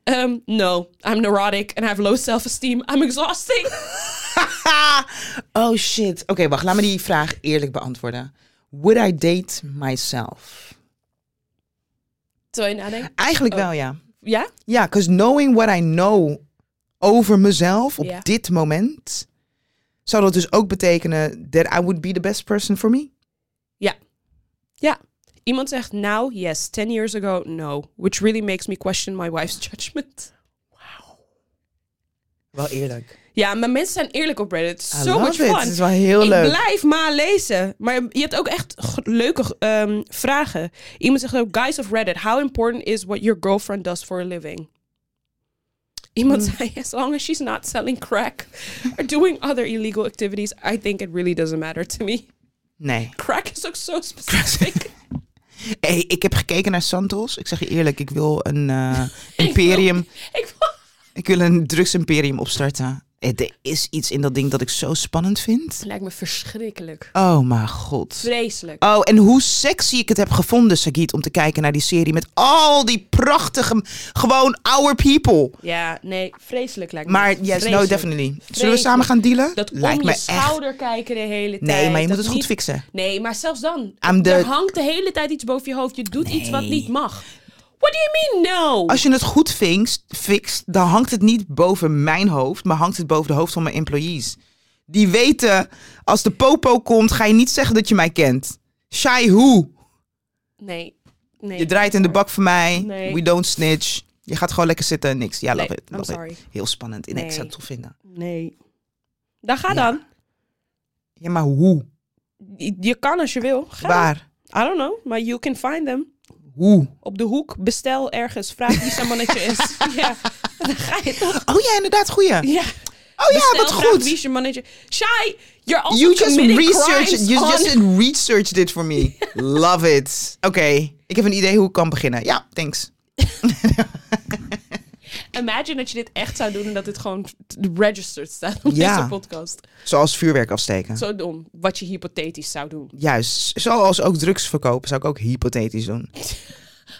B: Um, no, I'm neurotic and I have low self-esteem. I'm exhausting.
A: oh shit. Oké, wacht. Laat me die vraag eerlijk beantwoorden. Would I date myself?
B: Terwijl je nadenkt.
A: Eigenlijk
B: Oh.
A: wel, ja.
B: Ja?
A: Ja, because knowing what I know over mezelf op
B: Ja.
A: dit moment, zou dat dus ook betekenen that I would be the best person for me?
B: Ja. Iemand zegt now, yes. Ten years ago, no. Which really makes me question my wife's judgment.
C: Wel eerlijk.
B: Ja, maar mensen zijn eerlijk op Reddit.
A: I
B: So much
A: love it. Het
B: fun.
A: is wel heel
B: ik
A: leuk.
B: blijf maar lezen. Maar je hebt ook echt g- leuke ehm, vragen. Iemand zegt ook, guys of Reddit, how important is what your girlfriend does for a living? Iemand
A: Hmm.
B: zei, as long as she's not selling crack or doing other illegal activities, I think it really doesn't matter to me.
A: Nee.
B: Crack is ook zo specifiek.
A: Hey, ik heb gekeken naar Santos. Ik zeg je eerlijk, ik wil een eh, imperium.
B: ik wil-
A: Ik wil een drugsimperium opstarten. Eh, Er is iets in dat ding dat ik zo spannend vind.
B: Het lijkt me verschrikkelijk.
A: Oh mijn god.
B: Vreselijk.
A: Oh, en hoe sexy ik het heb gevonden, Sagit, om te kijken naar die serie met al die prachtige, gewoon our people.
B: Ja, nee, vreselijk lijkt me.
A: Maar yes, no,
B: Vreselijk.
A: definitely. Zullen we
B: Vreselijk.
A: samen gaan dealen?
B: Dat om
A: Lijkt
B: je
A: me echt.
B: schouder kijken de hele tijd.
A: Nee, maar je moet
B: dat
A: het goed
B: niet-
A: fixen.
B: Nee, maar zelfs dan.
A: Aan de-
B: Er hangt de hele tijd iets boven je hoofd. Je doet iets wat niet mag. What do you mean no?
A: Als je het goed fixt, fixt, dan hangt het niet boven mijn hoofd, maar hangt het boven de hoofd van mijn employees. Die weten, als de popo komt, ga je niet zeggen dat je mij kent. Shai hoe?
B: Nee. nee.
A: Je draait in de bak voor mij.
B: Nee.
A: We don't snitch. Je gaat gewoon lekker zitten en niks. Ja, love
B: Nee,
A: it.
B: I'm
A: love it.
B: sorry.
A: Heel spannend. Nee, Ik zou het
B: Nee.
A: tof vinden.
B: Nee. Dan ga
A: Ja.
B: dan.
A: Ja, maar hoe?
B: Je- Je kan als je wil. Ga.
A: Waar?
B: I don't know, maar you can find them.
A: Hoe?
B: Op de hoek, bestel ergens, vraag wie zijn mannetje is. ja, dan ga je toch.
A: Oh ja, inderdaad, goeie. Oh
B: Ja.
A: ja,
B: Bestel,
A: wat
B: vraag
A: goed.
B: Wie is je mannetje? Shai, you're also
A: You just
B: committing
A: researched,
B: crimes
A: you
B: on-
A: just researched dit for me. Love it. Oké, ik heb een idee hoe ik kan beginnen. Ja, thanks.
B: Imagine dat je dit echt zou doen en dat dit gewoon t- registered staat op
A: Ja.
B: deze podcast.
A: Zoals vuurwerk afsteken.
B: Zo dom, wat je hypothetisch zou doen.
A: Juist. Zoals ook drugs verkopen zou ik ook hypothetisch doen.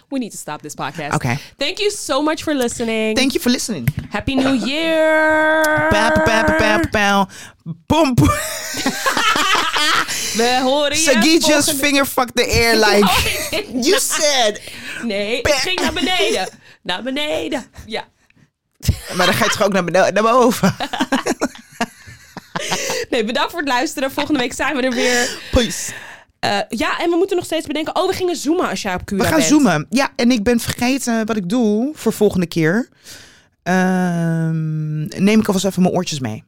B: We need to stop this podcast.
A: Okay.
B: Thank you so much for listening.
A: Thank you for listening.
B: Happy New Year.
A: Pa, pa, pa, pa, pa, pa. Pomp.
B: We horen je
A: Sagi just
B: volgende...
A: finger fucked the air like you said.
B: Nee, het ging naar beneden. Naar beneden. Ja.
A: Maar dan ga je toch ook naar, beno- naar boven.
B: Nee, bedankt voor het luisteren. Volgende week zijn we er weer.
A: Peace.
B: Eh, ja, en we moeten nog steeds bedenken... Oh, we gingen zoomen als jij op Cuba
A: We gaan
B: bent.
A: zoomen. Ja, en ik ben vergeten wat ik doe voor volgende keer. Ehm, neem ik alvast even mijn oortjes mee.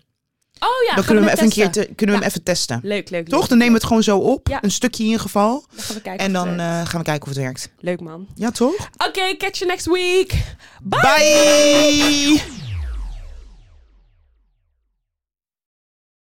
B: Oh
A: Dan
B: ja, gaan
A: kunnen we hem even, een
B: testen.
A: keer te- kunnen we
B: Ja.
A: hem even testen.
B: Leuk, leuk.
A: Toch?
B: leuk.
A: Dan nemen we het gewoon zo op.
B: Ja.
A: Een stukje in ieder geval.
B: Dan gaan we kijken
A: En
B: of
A: dan
B: het werkt.
A: eh, gaan we kijken of het werkt.
B: Leuk man.
A: Ja, toch?
B: Okay, catch you next week. Bye.
A: Bye.